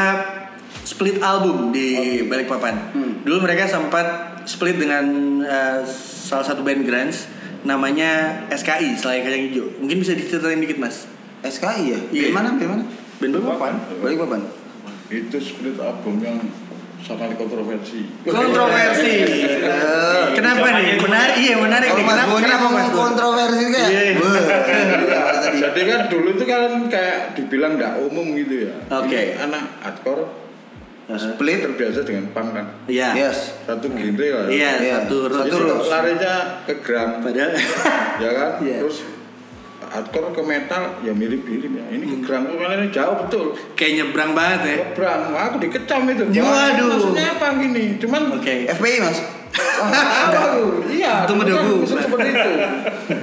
Speaker 3: split album di Balikpapan.
Speaker 2: Hmm.
Speaker 3: Dulu mereka sempat split dengan eh, salah satu band grunge namanya SKI selain kacang hijau. Mungkin bisa diceritain dikit, Mas.
Speaker 2: SKI ya?
Speaker 3: Iya.
Speaker 2: Di mana? Di mana?
Speaker 3: Band
Speaker 5: Papan.
Speaker 2: Balik papan.
Speaker 5: Itu split album yang sangat kontroversi.
Speaker 3: Kontroversi.
Speaker 2: Eh,
Speaker 3: kenapa nih? Menarik, iya menarik.
Speaker 2: Kalau
Speaker 3: nih.
Speaker 2: Oh, Mas
Speaker 3: Kenapa,
Speaker 2: Boni
Speaker 3: kenapa Mas
Speaker 2: ngomong
Speaker 3: Bon?
Speaker 2: kontroversi kayak.
Speaker 3: Iya. <laughs>
Speaker 2: Wah, iya, Mas Adi.
Speaker 5: Jadi kan dulu itu kan kayak dibilang nggak umum gitu ya.
Speaker 3: Oke.
Speaker 5: Ini Anak hardcore
Speaker 2: Split.
Speaker 5: terbiasa dengan punk kan.
Speaker 3: Iya.
Speaker 2: Nah, Yes.
Speaker 5: Satu genre lah.
Speaker 3: Iya,
Speaker 2: Iya.
Speaker 3: satu road.
Speaker 5: Jadi
Speaker 2: Satu road.
Speaker 5: larinya ke gram,
Speaker 3: Padahal <laughs>
Speaker 5: ya kan?
Speaker 3: Iya.
Speaker 5: Terus hardcore ke metal ya mirip-mirip ya. Ini ke gram kok kalian ini jauh betul.
Speaker 3: kayak nyebrang banget ya.
Speaker 5: Nyebrang, Wah, aku dikecam itu.
Speaker 3: Ya,
Speaker 5: Wah, ini
Speaker 3: waduh.
Speaker 5: Maksudnya apa gini? Cuman
Speaker 3: Oke.
Speaker 2: FPI Mas.
Speaker 5: <laughs> apa aku? Iya.
Speaker 3: Itu
Speaker 5: cuman
Speaker 3: mendebu.
Speaker 5: bisa seperti itu. <laughs>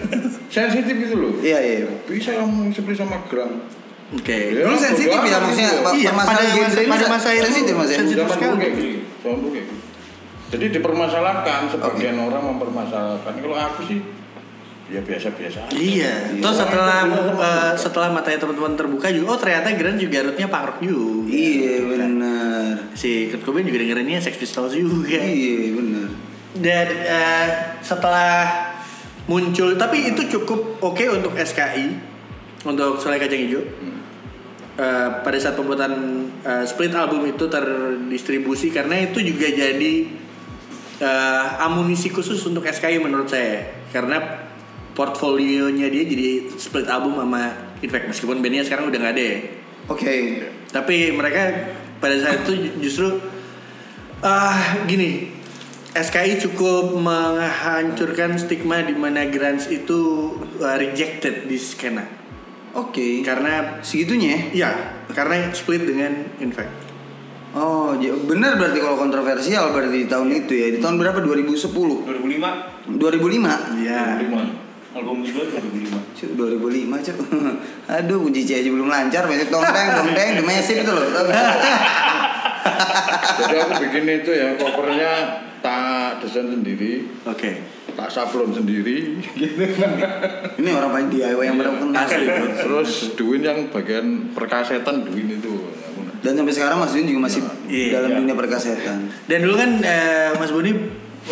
Speaker 5: Sensitif itu loh.
Speaker 2: Iya iya.
Speaker 5: Bisa kamu seperti sama gram.
Speaker 3: Oke.
Speaker 5: Ya,
Speaker 2: Ini sensitif ya
Speaker 5: bodoh amat
Speaker 2: maksudnya
Speaker 5: gitu.
Speaker 2: Pak,
Speaker 3: Iya,
Speaker 2: permasalahan
Speaker 3: pada masa-
Speaker 2: genre ini
Speaker 3: pada masa itu
Speaker 2: sensitif Mas ya.
Speaker 3: sensitif.
Speaker 5: Zaman
Speaker 3: sekali.
Speaker 5: dulu kayak gini, zaman dulu kayak gini. Jadi dipermasalahkan sebagian orang mempermasalahkan. Kalau aku sih ya biasa-biasa. aja.
Speaker 3: Iya. Terus setelah eh, setelah matanya teman-teman terbuka juga, oh ternyata Grand juga rootnya punk rock juga.
Speaker 2: Iya benar.
Speaker 3: Si Kurt Cobain juga Iya. dengerinnya Sex Pistols juga.
Speaker 2: Iya benar.
Speaker 3: Dan eh, setelah muncul tapi itu cukup oke untuk SKI untuk Soleh Kacang Hijau Eh, pada saat pembuatan eh, split album itu terdistribusi karena itu juga jadi eh, amunisi khusus untuk SKI menurut saya karena portfolionya dia jadi split album sama Infect meskipun bandnya sekarang udah nggak ada ya
Speaker 2: Oke.
Speaker 3: tapi mereka pada saat itu justru ah gini SKI cukup menghancurkan stigma di mana Grants itu uh, rejected di skena
Speaker 2: Oke.
Speaker 3: karena
Speaker 2: Segitunya ya?
Speaker 3: ya karena split dengan Infect
Speaker 2: Oh, j- benar berarti kalau kontroversial berarti di tahun itu ya. Di tahun berapa? 2010. 2005.
Speaker 4: 2005
Speaker 3: ya
Speaker 4: 2005 album kedua 2005
Speaker 2: Cuk, 2005 cuk. <laughs> Aduh, kunci C aja belum lancar, banyak tongteng, tongteng, demesip itu loh. <laughs> Tau nggak?
Speaker 5: Jadi aku bikin itu ya covernya tak desain sendiri,
Speaker 3: oke
Speaker 5: tak sablon sendiri,
Speaker 2: Ini orang paling DIY yang pernah aku kenal.
Speaker 3: asli bro.
Speaker 5: terus duin yang bagian perkasetan duin itu.
Speaker 2: Dan sampai sekarang Mas Yun juga masih
Speaker 3: Iya,
Speaker 2: dalam
Speaker 5: iya.
Speaker 2: dunia perkasetan.
Speaker 3: dan dulu kan eh, Mas Boni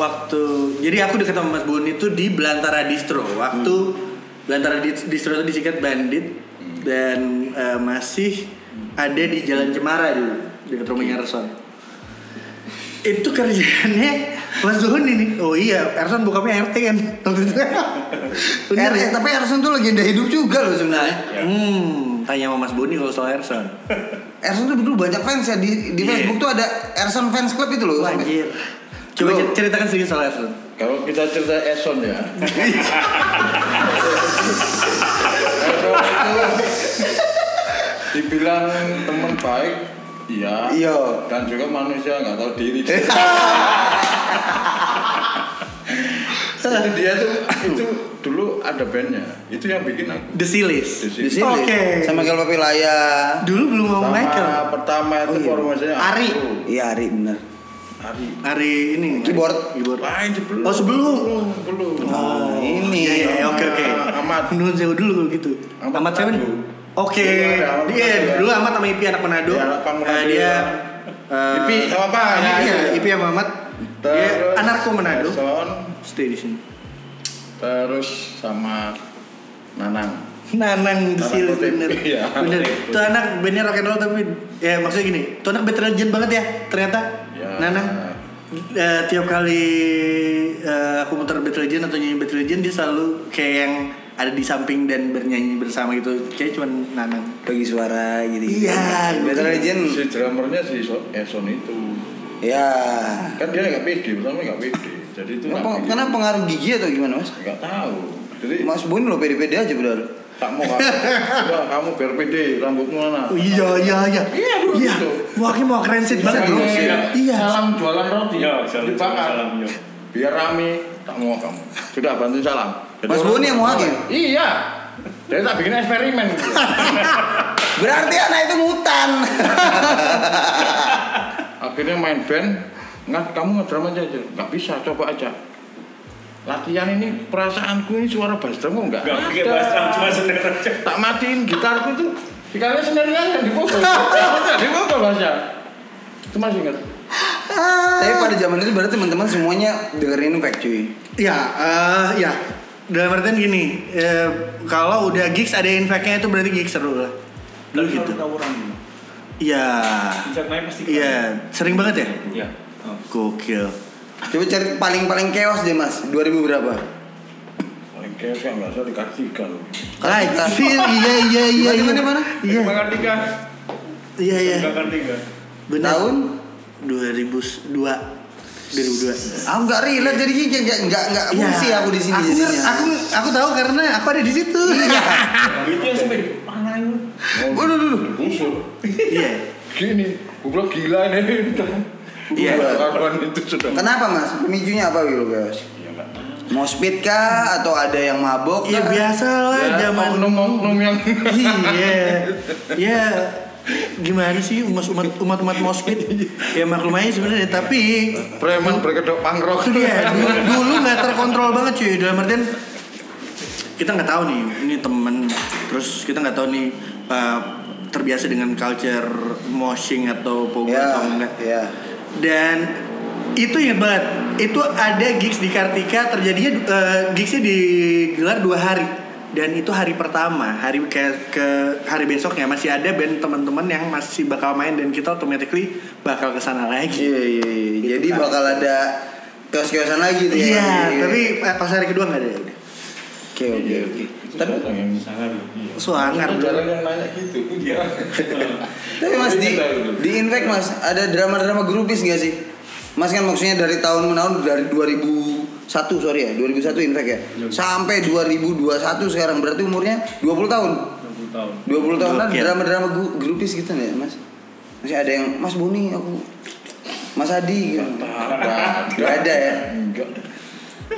Speaker 3: waktu jadi aku deket sama Mas Boni itu di Belantara Distro waktu
Speaker 2: Hmm.
Speaker 3: Belantara Di- Distro itu disingkat Bandit dan eh, masih ada di Jalan Cemara dulu dekat rumahnya Erson itu kerjaannya Mas Boni nih oh iya Erson bukanya RT kan
Speaker 2: <laughs>
Speaker 3: waktu itu Bener
Speaker 2: Er, eh,
Speaker 3: ya?
Speaker 2: tapi Erson tuh legenda hidup juga loh sebenarnya.
Speaker 3: hmm tanya sama Mas Boni kalau soal Erson
Speaker 2: Erson tuh dulu banyak fans ya di, di
Speaker 3: Iya.
Speaker 2: Facebook tuh ada Erson fans club itu loh. sampai-
Speaker 3: Wajir coba
Speaker 2: Lu-
Speaker 3: cer- ceritakan sedikit soal Erson
Speaker 5: Kalau kita cerita Eson ya. Eson itu dibilang teman baik, iya.
Speaker 2: Iya.
Speaker 5: Dan juga manusia nggak tahu diri. itu dia tuh itu dulu ada bandnya. Itu yang bikin aku.
Speaker 3: The Silis
Speaker 5: Di sini.
Speaker 2: Di sini
Speaker 3: Oke.
Speaker 2: sama Gal Papilaya.
Speaker 3: dulu belum mau
Speaker 5: Sama
Speaker 3: Michael
Speaker 5: pertama itu
Speaker 2: Oh, iya.
Speaker 5: formasinya
Speaker 3: Ari.
Speaker 5: aku.
Speaker 2: Iya, Ari bener.
Speaker 5: Ari.
Speaker 3: hari ini
Speaker 2: Keyboard.
Speaker 3: keyboard
Speaker 5: Lain sebelum.
Speaker 3: Oh, sebelum.
Speaker 5: Belum.
Speaker 2: Nah, ini.
Speaker 3: iya iya oke oke
Speaker 5: Amat.
Speaker 3: Nuhun sewu dulu kalau gitu
Speaker 5: Amat
Speaker 3: amat seven
Speaker 5: Manado.
Speaker 3: oke
Speaker 5: Iya, ada Amat
Speaker 3: dia
Speaker 5: Manado.
Speaker 3: dulu amat sama Ipi anak Manado
Speaker 5: Iya, anak Manado.
Speaker 3: Eh, dia eh,
Speaker 5: Ipi, sama apa?
Speaker 3: Iya,
Speaker 5: Iya.
Speaker 3: iya Ipi sama Amat dia
Speaker 5: Terus
Speaker 3: anarko Manado
Speaker 5: Eson,
Speaker 3: stay di sini
Speaker 5: terus sama Nanang.
Speaker 3: Nanang di
Speaker 5: Nanang
Speaker 3: sini
Speaker 5: Kutip.
Speaker 3: <laughs> bener
Speaker 5: Iya.
Speaker 3: bener tuh anak bandnya rock and roll tapi ya maksudnya gini tuh anak battle legend banget ya ternyata
Speaker 5: Ya.
Speaker 3: Nanang eh, tiap kali eh, aku muter battle legend atau nyanyi battle legend dia selalu kayak yang ada di samping dan bernyanyi bersama gitu kayak cuman Nanang
Speaker 2: Bagi suara gitu.
Speaker 3: Iya,
Speaker 2: Battle
Speaker 3: gokil.
Speaker 2: Legend.
Speaker 5: Si drummernya si So- Eson itu
Speaker 3: Iya.
Speaker 2: Ya.
Speaker 5: kan dia nggak pede, pertama nggak pede. Jadi itu
Speaker 2: Kenapa,
Speaker 5: nggak pede.
Speaker 2: kenapa pengaruh gigi atau gimana mas?
Speaker 5: Nggak tahu. Jadi
Speaker 2: Mas Bun lo pede-pede aja benar.
Speaker 5: tak mau
Speaker 3: <laughs>
Speaker 5: kamu, Nggak, kamu biar pede, rambutmu mana?
Speaker 3: Oh, iya iya iya
Speaker 5: Iya, bro,
Speaker 3: iya
Speaker 5: gitu.
Speaker 3: wah ini mau keren sih banget bro
Speaker 5: Iya.
Speaker 3: iya
Speaker 5: Salam jualan roti.
Speaker 4: Iya, salam-
Speaker 5: Dibakar.
Speaker 4: salam, iya.
Speaker 5: Biar rame, tak mau kamu. Sudah bantu salam. Jadi
Speaker 2: Mas
Speaker 5: orang-
Speaker 2: Boni yang mau hakim?
Speaker 5: Iya. Dia tak bikin
Speaker 2: <laughs>
Speaker 5: eksperimen.
Speaker 2: Berarti anak itu
Speaker 3: <laughs>
Speaker 2: mutan.
Speaker 5: Akhirnya main band, nggak kamu ngedrum aja aja. Nggak bisa, coba aja. Latihan ini perasaanku ini suara bass drum kok nggak
Speaker 4: Gak
Speaker 5: ada.
Speaker 4: pakai bahasa cuma sendiri aja
Speaker 5: Tak matiin gitarku tuh. Dikali sendiri aja dipukul.
Speaker 2: <laughs>
Speaker 5: dipukul bassnya. Itu masih ingat.
Speaker 2: Tapi pada zaman itu berarti teman-teman semuanya dengerin Infect cuy.
Speaker 3: Ya, eh ya. Dalam artian gini, eh, kalau udah gigs ada infeknya itu berarti gigs seru lah. Dulu
Speaker 4: Tapi
Speaker 3: gitu.
Speaker 4: selalu tawuran
Speaker 3: Iya.
Speaker 4: Injak main pasti kalah.
Speaker 3: Iya, sering banget ya?
Speaker 4: Iya Oh.
Speaker 3: Gokil.
Speaker 2: Coba cari paling-paling chaos deh mas. 2000 berapa?
Speaker 5: Paling kayak saya nggak usah dikasihkan.
Speaker 3: Right. Iya, iya, iya, iya.
Speaker 2: Di mana, di mana?
Speaker 3: Iya.
Speaker 4: Bang Kartika
Speaker 3: Iya, iya.
Speaker 4: Bang Kartika
Speaker 3: Benar.
Speaker 2: Tahun?
Speaker 3: 2002. 2002.
Speaker 2: Aku Ah, nggak relate jadi gigi nggak nggak nggak fungsi aku di sini. Iya.
Speaker 3: Iya. Aku, nger-
Speaker 2: jadinya.
Speaker 3: aku aku tahu karena aku ada di situ. <laughs>
Speaker 4: Itu yang sampai dipanahin
Speaker 2: Waduh, waduh, waduh.
Speaker 5: Busuk.
Speaker 3: Iya.
Speaker 5: gini gue bilang gila ini
Speaker 3: Iya.
Speaker 5: korban itu sudah
Speaker 2: Kenapa mas? Pemicunya apa gitu guys?
Speaker 5: ya nggak
Speaker 2: Mau speed kah atau ada yang mabok? kah?
Speaker 3: Iya biasa lah
Speaker 5: ya
Speaker 3: zaman
Speaker 5: oknum oknum yang <laughs>
Speaker 3: iya ya gimana sih umat umat umat umat mospit ya maklum aja sebenarnya tapi
Speaker 5: preman berkedok pangrok
Speaker 3: iya
Speaker 5: <laughs>
Speaker 3: dulu, dulu nggak terkontrol banget cuy dalam artian kita nggak tahu nih ini temen terus kita nggak tahu nih uh, terbiasa dengan culture moshing atau pogo
Speaker 2: Ya,
Speaker 3: atau enggak
Speaker 2: ya.
Speaker 3: dan itu inget banget itu ada gigs di Kartika terjadinya eh, gigsnya digelar dua hari dan itu hari pertama hari ke, ke hari besoknya masih ada band teman-teman yang masih bakal main dan kita automatically bakal kesana lagi.
Speaker 2: Iya, iya, iya.
Speaker 3: Gitu
Speaker 2: Jadi
Speaker 3: kan.
Speaker 2: bakal ada kios-kiosan lagi tuh ya.
Speaker 3: Iya, tapi eh, pas hari kedua nggak ada.
Speaker 2: Oke, oke, oke.
Speaker 5: Tapi yang
Speaker 4: iya.
Speaker 3: Suangar
Speaker 5: Itu
Speaker 3: bro.
Speaker 5: jarang yang nanya gitu. Iya.
Speaker 2: Tapi Mas di di Infect Mas ada drama-drama grupis gak sih? Mas kan maksudnya dari tahun menahun dari 2001 sorry ya 2001 Infect ya sampai 2021 sekarang berarti umurnya 20 tahun
Speaker 4: 20 tahun.
Speaker 2: 20 tahun kan
Speaker 3: Gokil.
Speaker 2: drama-drama gu- grupis gitu ya Mas masih ada yang Mas Boni aku Mas Adi gitu. Gak ada ya
Speaker 5: Enggak.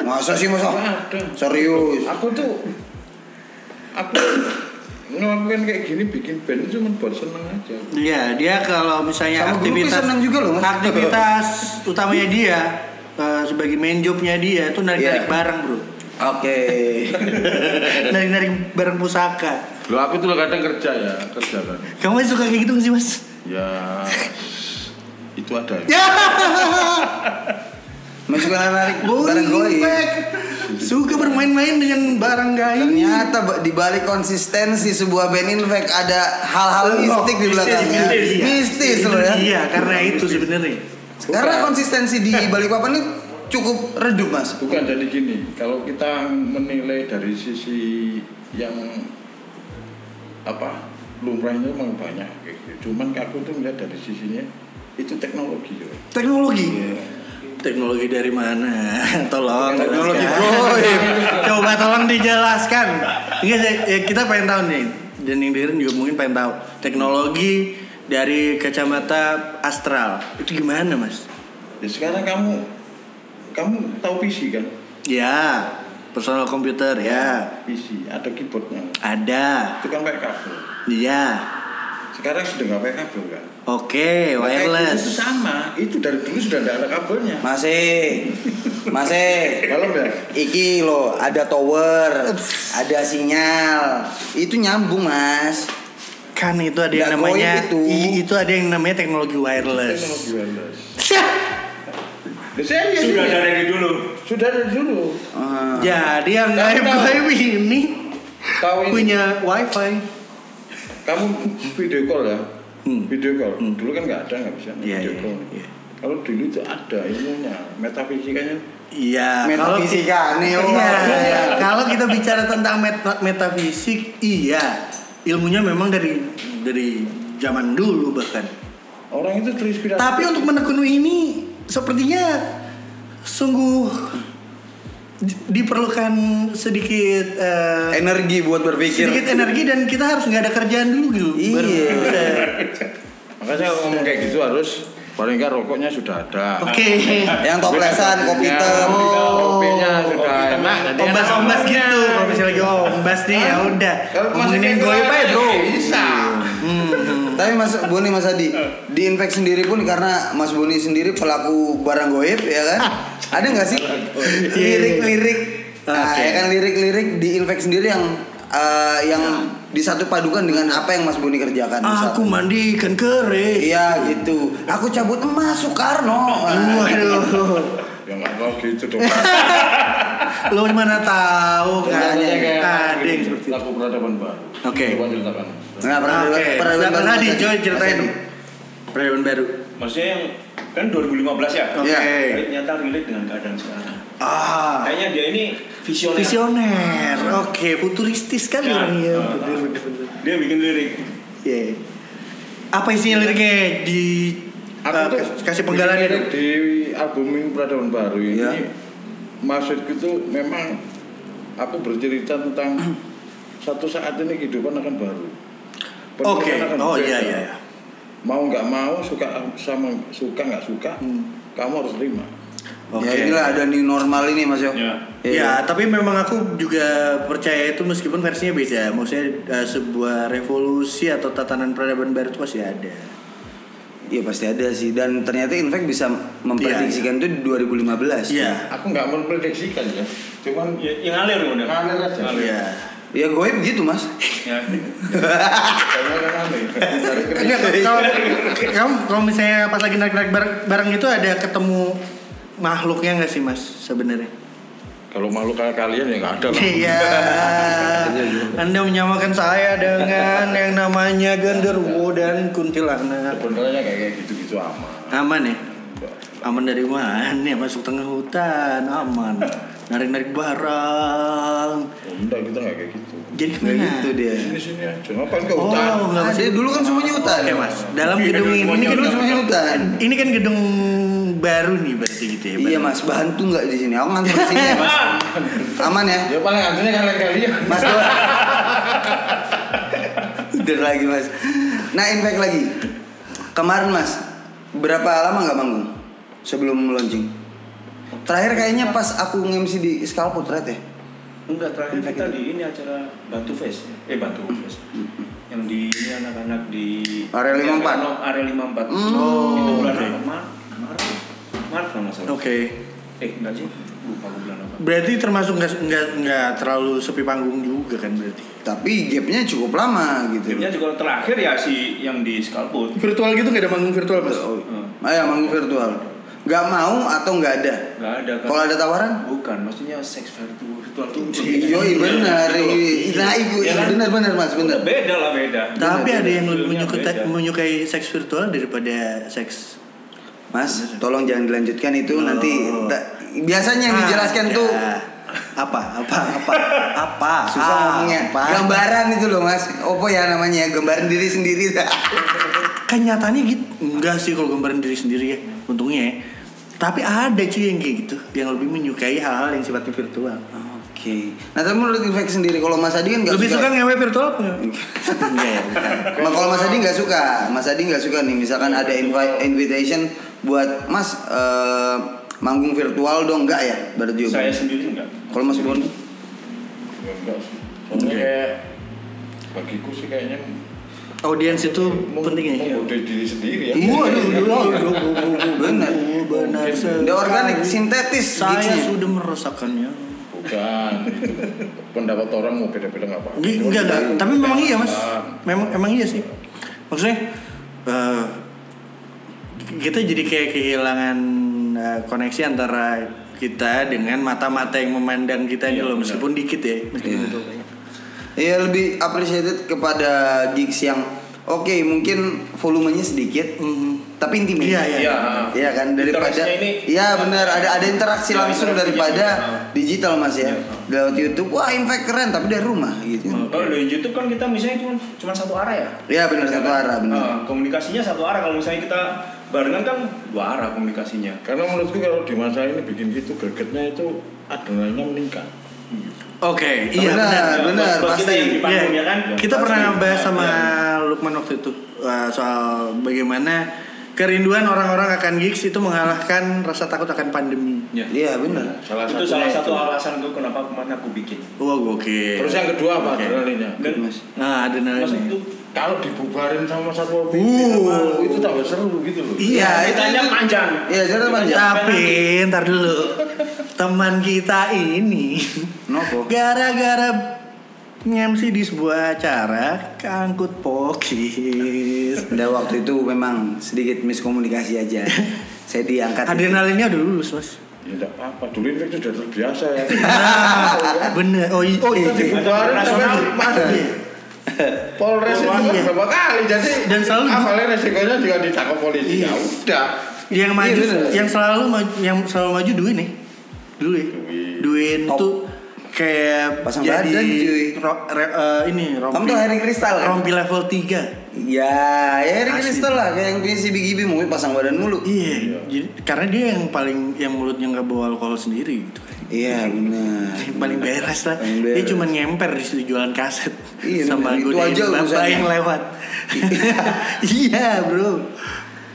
Speaker 2: masa sih Mas
Speaker 5: Ada.
Speaker 2: serius
Speaker 5: Aku tuh aku ngelakuin kayak gini bikin band itu cuma buat seneng aja.
Speaker 3: Iya, dia kalau misalnya
Speaker 2: Sama grupnya
Speaker 3: aktivitas
Speaker 2: senang juga loh, Mas.
Speaker 3: aktivitas utamanya dia eh, sebagai main jobnya dia itu narik-narik
Speaker 2: Iya.
Speaker 3: barang, Bro.
Speaker 2: oke
Speaker 3: Narik-narik barang pusaka.
Speaker 5: Lo aku tuh kadang kerja ya, kerja kan.
Speaker 3: Kamu masih suka kayak gitu nggak sih, Mas?
Speaker 5: Ya itu ada.
Speaker 3: Ya.
Speaker 2: masukkan narik barang
Speaker 3: Bowling
Speaker 2: goib
Speaker 3: bag. Suka bermain-main dengan barang gaib.
Speaker 2: Ternyata ba- di balik konsistensi sebuah band Infect ada hal-hal
Speaker 3: Oh,
Speaker 2: mistik di
Speaker 3: mistis,
Speaker 2: belakangnya.
Speaker 3: mistis, iya.
Speaker 2: Mistis
Speaker 3: Itu
Speaker 2: loh ya.
Speaker 3: Iya, karena itu sebenarnya.
Speaker 2: Karena konsistensi
Speaker 3: <laughs>
Speaker 2: di balik papan ini cukup redup mas.
Speaker 5: Bukan jadi gini, kalau kita menilai dari sisi yang apa lumrahnya memang banyak kayak gitu. Cuman aku tuh melihat dari sisinya itu teknologi yo.
Speaker 3: Teknologi. Teknologi dari mana? <laughs> Tolong.
Speaker 2: Teknologi
Speaker 3: jelaskan. <laughs>
Speaker 2: goib.
Speaker 3: Coba tolong dijelaskan. Enggak saya- ya, kita pengen tahu nih. Dan yang dengerin juga mungkin pengen tahu teknologi dari kacamata astral itu gimana mas?
Speaker 5: Ya sekarang kamu kamu tahu PC kan?
Speaker 3: Ya personal komputer ya
Speaker 5: PC ada keyboardnya.
Speaker 3: ada
Speaker 5: Itu kan pakai kabel.
Speaker 3: ya
Speaker 5: Sekarang sudah nggak pakai kabel kan?
Speaker 3: oke
Speaker 5: Nah, kayak gitu Itu
Speaker 3: wireless
Speaker 5: sama, itu dari dulu sudah nggak ada kabelnya.
Speaker 2: Masih, masih.
Speaker 5: Kalau ya,
Speaker 2: Iki loh ada tower, ada sinyal. Itu nyambung mas.
Speaker 3: kan itu ada yang
Speaker 2: Nggak
Speaker 3: namanya
Speaker 2: goib itu.
Speaker 3: i- itu ada yang namanya teknologi
Speaker 5: teknologi
Speaker 3: wireless.
Speaker 5: wireless.
Speaker 3: Syah.
Speaker 5: Ya, serius
Speaker 4: Sudah
Speaker 5: ini.
Speaker 4: dari dulu.
Speaker 5: sudah dari dulu.
Speaker 3: <laughs>
Speaker 2: Ah.
Speaker 3: Jadi yang
Speaker 5: Kamu
Speaker 3: gaib
Speaker 5: tahu?
Speaker 3: gaib ini
Speaker 5: Tahu ini?
Speaker 3: punya wifi.
Speaker 5: kamu video call ya
Speaker 3: Hmm.
Speaker 5: video call
Speaker 3: Hmm.
Speaker 5: dulu kan nggak ada nggak bisa
Speaker 3: Iya,
Speaker 5: video
Speaker 3: iya,
Speaker 5: call
Speaker 3: iya.
Speaker 5: kalau dulu itu ada ilmunya metafisikanya
Speaker 3: Iya. kalau-
Speaker 2: Metafisika nih. oh.
Speaker 3: Iya. Kalau kita bicara tentang met- metafisik, iya. Ilmunya memang dari dari zaman dulu bahkan.
Speaker 5: orang itu terinspirasi
Speaker 3: Tapi untuk menekuni ini sepertinya sungguh di- diperlukan sedikit eh,
Speaker 2: Energi buat berpikir.
Speaker 3: sedikit energi dan kita harus nggak ada kerjaan dulu gitu. baru
Speaker 2: Iya.
Speaker 3: bisa.
Speaker 5: makanya kalau ngomong kayak gitu harus paling nggak rokoknya sudah ada
Speaker 3: Oke.
Speaker 2: Yang toplesan, kopi
Speaker 5: Ya,
Speaker 2: tem.
Speaker 3: Oh,
Speaker 5: kopinya sudah
Speaker 4: kopi
Speaker 5: enak
Speaker 4: tem.
Speaker 5: jadi
Speaker 3: ombas ombas gitu kalau misalnya lagi ombas nih ya udah
Speaker 5: kalau
Speaker 3: ngomongin gue apa ya bro
Speaker 5: bisa
Speaker 2: Hmm. Tapi Mas Boni Mas Adi, di Infek sendiri pun karena Mas Boni sendiri pelaku barang goib ya kan?
Speaker 3: Ah.
Speaker 2: Ada nggak sih lirik-lirik? Nah,
Speaker 3: Iya, Oke.
Speaker 2: ya kan lirik-lirik di Infek sendiri yang eh, yang disatu padukan dengan apa yang Mas Boni kerjakan?
Speaker 3: Ya. aku
Speaker 2: Misal.
Speaker 3: mandikan keris
Speaker 2: Iya gitu. Aku cabut emas Soekarno. Nah,
Speaker 3: waduh
Speaker 5: ya nggak mau gitu dong
Speaker 3: <laughs> lo mana
Speaker 2: Iya,
Speaker 3: tahu kan
Speaker 5: Contohnya kayak
Speaker 3: tadi
Speaker 5: gini, lagu peradaban baru
Speaker 3: Oke.
Speaker 5: coba ceritakan
Speaker 2: Nah, pernah
Speaker 3: oke
Speaker 2: pernah-
Speaker 3: Nah,
Speaker 2: pernah-
Speaker 3: tadi
Speaker 2: Mas Adi.
Speaker 3: coba ceritain
Speaker 2: Mas Adi.
Speaker 3: Periode baru
Speaker 4: Maksudnya yang kan 2015 ya.
Speaker 3: oke
Speaker 4: Tapi Ternyata relate dengan keadaan sekarang.
Speaker 3: ah
Speaker 4: Kayaknya dia ini visioner.
Speaker 3: visioner oke futuristis kan
Speaker 2: Iya.
Speaker 4: Ya.
Speaker 3: orangnya
Speaker 4: Ah.
Speaker 3: bener bener bener
Speaker 4: Dia bikin lirik.
Speaker 3: Iya. apa isinya liriknya di eh,
Speaker 5: Aku tuh
Speaker 3: kasih Ya. penggalannya
Speaker 5: di,
Speaker 3: dong
Speaker 5: di album ini peradaban baru ini
Speaker 2: Iya.
Speaker 5: maksudku tuh memang aku bercerita
Speaker 3: <clears throat>
Speaker 5: tentang satu saat ini kehidupan akan baru. Pendidikan
Speaker 3: Oke,
Speaker 5: akan
Speaker 3: oh
Speaker 5: beda.
Speaker 3: iya iya. iya.
Speaker 5: Mau nggak mau suka sama suka nggak suka, kamu harus terima.
Speaker 2: Ya inilah ada new normal ini Mas Yo.
Speaker 4: Ya.
Speaker 2: Iya.
Speaker 3: Ya, tapi memang aku juga percaya itu meskipun versinya beda. Maksudnya eh, sebuah revolusi atau tatanan peradaban baru itu pasti ada.
Speaker 2: Iya pasti ada sih dan ternyata Infek bisa memprediksikan itu di 2015.
Speaker 3: Iya.
Speaker 5: Aku nggak memprediksikan ya, cuman
Speaker 4: Ya, yang ngalir udah.
Speaker 5: Ngalir aja.
Speaker 3: Iya.
Speaker 2: Ya goib gitu
Speaker 3: <laughs>
Speaker 2: Mas.
Speaker 4: Ya.
Speaker 5: kayaknya kan aneh. Dari
Speaker 3: <laughs> Enggak,
Speaker 5: kecil.
Speaker 3: kalau- kalau kamu- kalau misalnya pas lagi narik-narik barang, barang itu ada gitu ketemu makhluknya nggak sih mas <laughs> sebenarnya?
Speaker 5: Kalau makhluk kayak kalian ya nggak ada lah.
Speaker 3: Iya. Anda menyamakan saya dengan yang namanya genderuwo dan kuntilanak.
Speaker 5: Sebenarnya kayak gitu-gitu aman.
Speaker 3: Aman ya? Aman dari mana? Masuk tengah hutan, aman. Narik-narik barang.
Speaker 5: Enggak kita nggak kayak gitu.
Speaker 3: Jadi
Speaker 2: Nah,
Speaker 3: kemana?
Speaker 2: gitu dia.
Speaker 5: Sini sini aja. Ngapain ke
Speaker 3: Oh,
Speaker 5: hutan? Iya,
Speaker 3: nggak
Speaker 2: Ah,
Speaker 3: masuk.
Speaker 2: dia dulu kan semuanya hutan
Speaker 3: Oke mas, dalam gedung ini,
Speaker 2: Ini kan semuanya hutan.
Speaker 3: ini kan gedung baru nih berarti gitu ya.
Speaker 2: Iya mas, bahan tuh nggak di sini. Aku ngantor di sini ya mas. Aman ya,
Speaker 5: Ya paling antunya kalian kalian.
Speaker 2: mas. Doa. Udah lagi mas. Nah impact lagi. Kemarin mas, berapa lama nggak manggung sebelum launching? Terakhir kayaknya pas aku nge-MC di Scalpot right ya.
Speaker 4: Enggak, terakhir kita di ini acara Batu Fest. Eh, Batu Fest. Yang di ini anak-anak di...
Speaker 2: Area 54.
Speaker 4: Yang Area 54.
Speaker 2: Hmm.
Speaker 4: Itu
Speaker 3: Oh,
Speaker 4: bulan
Speaker 3: oke.
Speaker 4: apa? Maret. Maret. Maret kalau nggak
Speaker 3: <laughs> Oke.
Speaker 4: salah.
Speaker 2: Oh.
Speaker 4: Eh, enggak sih. Lupa aku bulan apa.
Speaker 3: Berarti termasuk nggak nggak nggak terlalu sepi panggung juga kan berarti.
Speaker 2: Tapi gapnya cukup lama gitu.
Speaker 4: Timnya juga terakhir ya si yang di Scalput.
Speaker 3: Virtual gitu nggak ada panggung virtual mas?
Speaker 2: Oh,
Speaker 4: Hmm.
Speaker 2: Ayo manggung virtual. Gak mau atau nggak ada?
Speaker 4: Enggak ada kan.
Speaker 2: Kalau ada tawaran?
Speaker 4: Bukan, maksudnya seks virtual virtual tuh.
Speaker 2: Iya benar. Nah, itu
Speaker 4: Iya kan?
Speaker 2: benar benar Mas, benar.
Speaker 4: Beda lah beda.
Speaker 2: Beda, Iya,
Speaker 3: Tapi ada
Speaker 4: beda.
Speaker 3: yang lebih
Speaker 4: Iya, Beda.
Speaker 3: menyukai, menyukai seks virtual daripada seks.
Speaker 2: Mas, tolong jangan dilanjutkan itu
Speaker 3: Oh.
Speaker 2: nanti ta- biasanya yang
Speaker 3: Ah,
Speaker 2: dijelaskan
Speaker 3: ya.
Speaker 2: tuh
Speaker 3: apa apa apa apa
Speaker 2: susah
Speaker 3: Ah,
Speaker 2: ngomongnya.
Speaker 3: apa?
Speaker 2: Gambaran itu loh, Mas. Apa ya namanya? Gambaran diri sendiri. <laughs>
Speaker 3: kenyataannya gitu enggak sih kalau gambaran diri sendiri ya untungnya ya. tapi ada cuy yang kayak gitu yang lebih menyukai hal-hal yang sifatnya virtual
Speaker 2: Oke. Nah, tapi menurut Infek sendiri kalau Mas Adi kan nggak
Speaker 3: lebih suka ngewe virtual apa nggak?
Speaker 2: Enggak <laughs> ya, bukan. Ma- Kalau Mas Adi nggak suka, Mas Adi nggak suka nih. Misalkan ada invi- invitation buat Mas eh, manggung virtual dong, nggak ya? Berarti juga.
Speaker 4: Saya sendiri enggak.
Speaker 2: Kalau Mas Bon,
Speaker 5: Ya, enggak sih. Soalnya
Speaker 3: Oke.
Speaker 5: kayak bagiku sih kayaknya
Speaker 3: audiens itu
Speaker 5: meng-
Speaker 3: penting ya
Speaker 5: menggoda diri sendiri ya.
Speaker 2: Iya.
Speaker 3: Waduh, waduh, waduh,
Speaker 2: Benar.
Speaker 3: benar. sekali.
Speaker 2: Dia organik, sintetis
Speaker 3: Saya
Speaker 2: gigs-nya.
Speaker 3: sudah merasakannya.
Speaker 5: Bukan. Itu.
Speaker 3: <laughs>
Speaker 5: Pendapat orang mau beda-beda nggak apa-apa.
Speaker 3: Nggak, Enggak, enggak. Tapi memang iya, Mas. Memang emang iya sih. Maksudnya eh, kita jadi kayak kehilangan eh, koneksi antara kita dengan mata-mata yang memandang kita ini
Speaker 4: Iya,
Speaker 3: loh
Speaker 4: benar. Iya.
Speaker 3: meskipun dikit ya meskipun itu banyak.
Speaker 2: ya lebih appreciated kepada gigs yang oke mungkin volumenya sedikit, tapi intimate.
Speaker 3: Iya, iya.
Speaker 4: Iya.
Speaker 2: Iya kan daripada
Speaker 4: Interaksinya ini-
Speaker 2: Iya benar ada ada interaksi
Speaker 4: Iya,
Speaker 2: langsung
Speaker 4: interaksinya
Speaker 2: daripada
Speaker 4: juga.
Speaker 2: digital Mas ya.
Speaker 4: Iya.
Speaker 2: Lewat YouTube wah Infek keren tapi dari rumah gitu.
Speaker 4: Kalau di YouTube kan kita misalnya cuma cuma satu arah ya.
Speaker 2: Iya benar satu
Speaker 4: kan?
Speaker 2: arah benar.
Speaker 4: Eh, komunikasinya satu arah kalau misalnya kita barengan kan dua arah komunikasinya.
Speaker 5: Karena menurutku kalau di masa ini bikin gitu gregetnya itu adrenalinnya meningkat.
Speaker 3: Oke, iya
Speaker 2: Benar.
Speaker 3: benar.
Speaker 2: benar,
Speaker 4: Buat- buat kita
Speaker 2: pasti.
Speaker 4: yang di panggung,
Speaker 3: Iya,
Speaker 4: ya kan?
Speaker 3: Kita
Speaker 4: Pasti.
Speaker 3: pernah bahas sama
Speaker 4: Iya.
Speaker 3: Lukman waktu itu uh, soal bagaimana kerinduan orang-orang akan gigs itu mengalahkan rasa takut akan pandemi.
Speaker 4: Iya.
Speaker 2: Iya benar.
Speaker 5: Salah
Speaker 4: itu
Speaker 5: satunya
Speaker 4: salah satu
Speaker 5: itu.
Speaker 4: alasan gue kenapa kemana aku bikin.
Speaker 3: Wah, gokil.
Speaker 5: Terus yang kedua apa
Speaker 3: Oke.
Speaker 5: adrenalinnya?
Speaker 4: Dan
Speaker 2: Mas.
Speaker 3: Nah, ada
Speaker 4: maksud
Speaker 3: nalanya.
Speaker 4: itu
Speaker 5: Kalau dibubarin sama satpol pp
Speaker 3: Uh.
Speaker 5: sama itu tambah seru gitu loh.
Speaker 2: Iya, itu-
Speaker 4: ceritanya
Speaker 2: itu-
Speaker 4: panjang.
Speaker 2: Iya, cerita panjang.
Speaker 3: Tapi ntar dulu teman kita ini
Speaker 2: Nopo?
Speaker 3: gara-gara ngemsi di sebuah acara keangkut pokis.
Speaker 2: Ada waktu itu memang sedikit miskomunikasi
Speaker 3: <laughs>
Speaker 2: aja. Saya diangkat.
Speaker 3: Adrenalinnya udah lulus mas.
Speaker 5: Ya enggak apa-apa, dulu ini sudah terbiasa
Speaker 3: <laughs>
Speaker 5: ya.
Speaker 3: Nah, bener. Oh, i- oh iya.
Speaker 5: Itu dibubarin sampai
Speaker 4: Nasional.
Speaker 5: masuk di Polres itu kan
Speaker 3: Iya.
Speaker 5: berapa kali jadi
Speaker 3: Dan selalu-
Speaker 5: awalnya resikonya juga ditangkap polisi.
Speaker 3: Iya.
Speaker 5: Ya udah.
Speaker 3: Yang maju,
Speaker 2: Iya, bener.
Speaker 3: yang selalu maju, yang selalu maju Duin nih. Duin. Duin
Speaker 2: Top.
Speaker 3: tuh kayak
Speaker 2: Pasang badan, cuy.
Speaker 3: ro- re- eh, ini rompi.
Speaker 2: Kamu tuh Harry Kristal kan?
Speaker 3: Rompi level 3
Speaker 2: Ya, ya Harry
Speaker 3: Asli.
Speaker 2: Kristal lah kayak yang punya si Big Ibi mungkin pasang badan mulu.
Speaker 3: Iya, jadi karena dia yang paling yang mulutnya nggak bawa alkohol sendiri gitu.
Speaker 2: Iya benar.
Speaker 3: Yang paling beres lah.
Speaker 2: Paling
Speaker 3: Dia
Speaker 2: beres.
Speaker 3: cuma ngemper di situ jualan kaset
Speaker 2: Iya,
Speaker 3: sama
Speaker 2: bener. Itu
Speaker 3: godain
Speaker 2: aja
Speaker 3: bapak
Speaker 2: urusannya.
Speaker 3: yang lewat. iya, bro.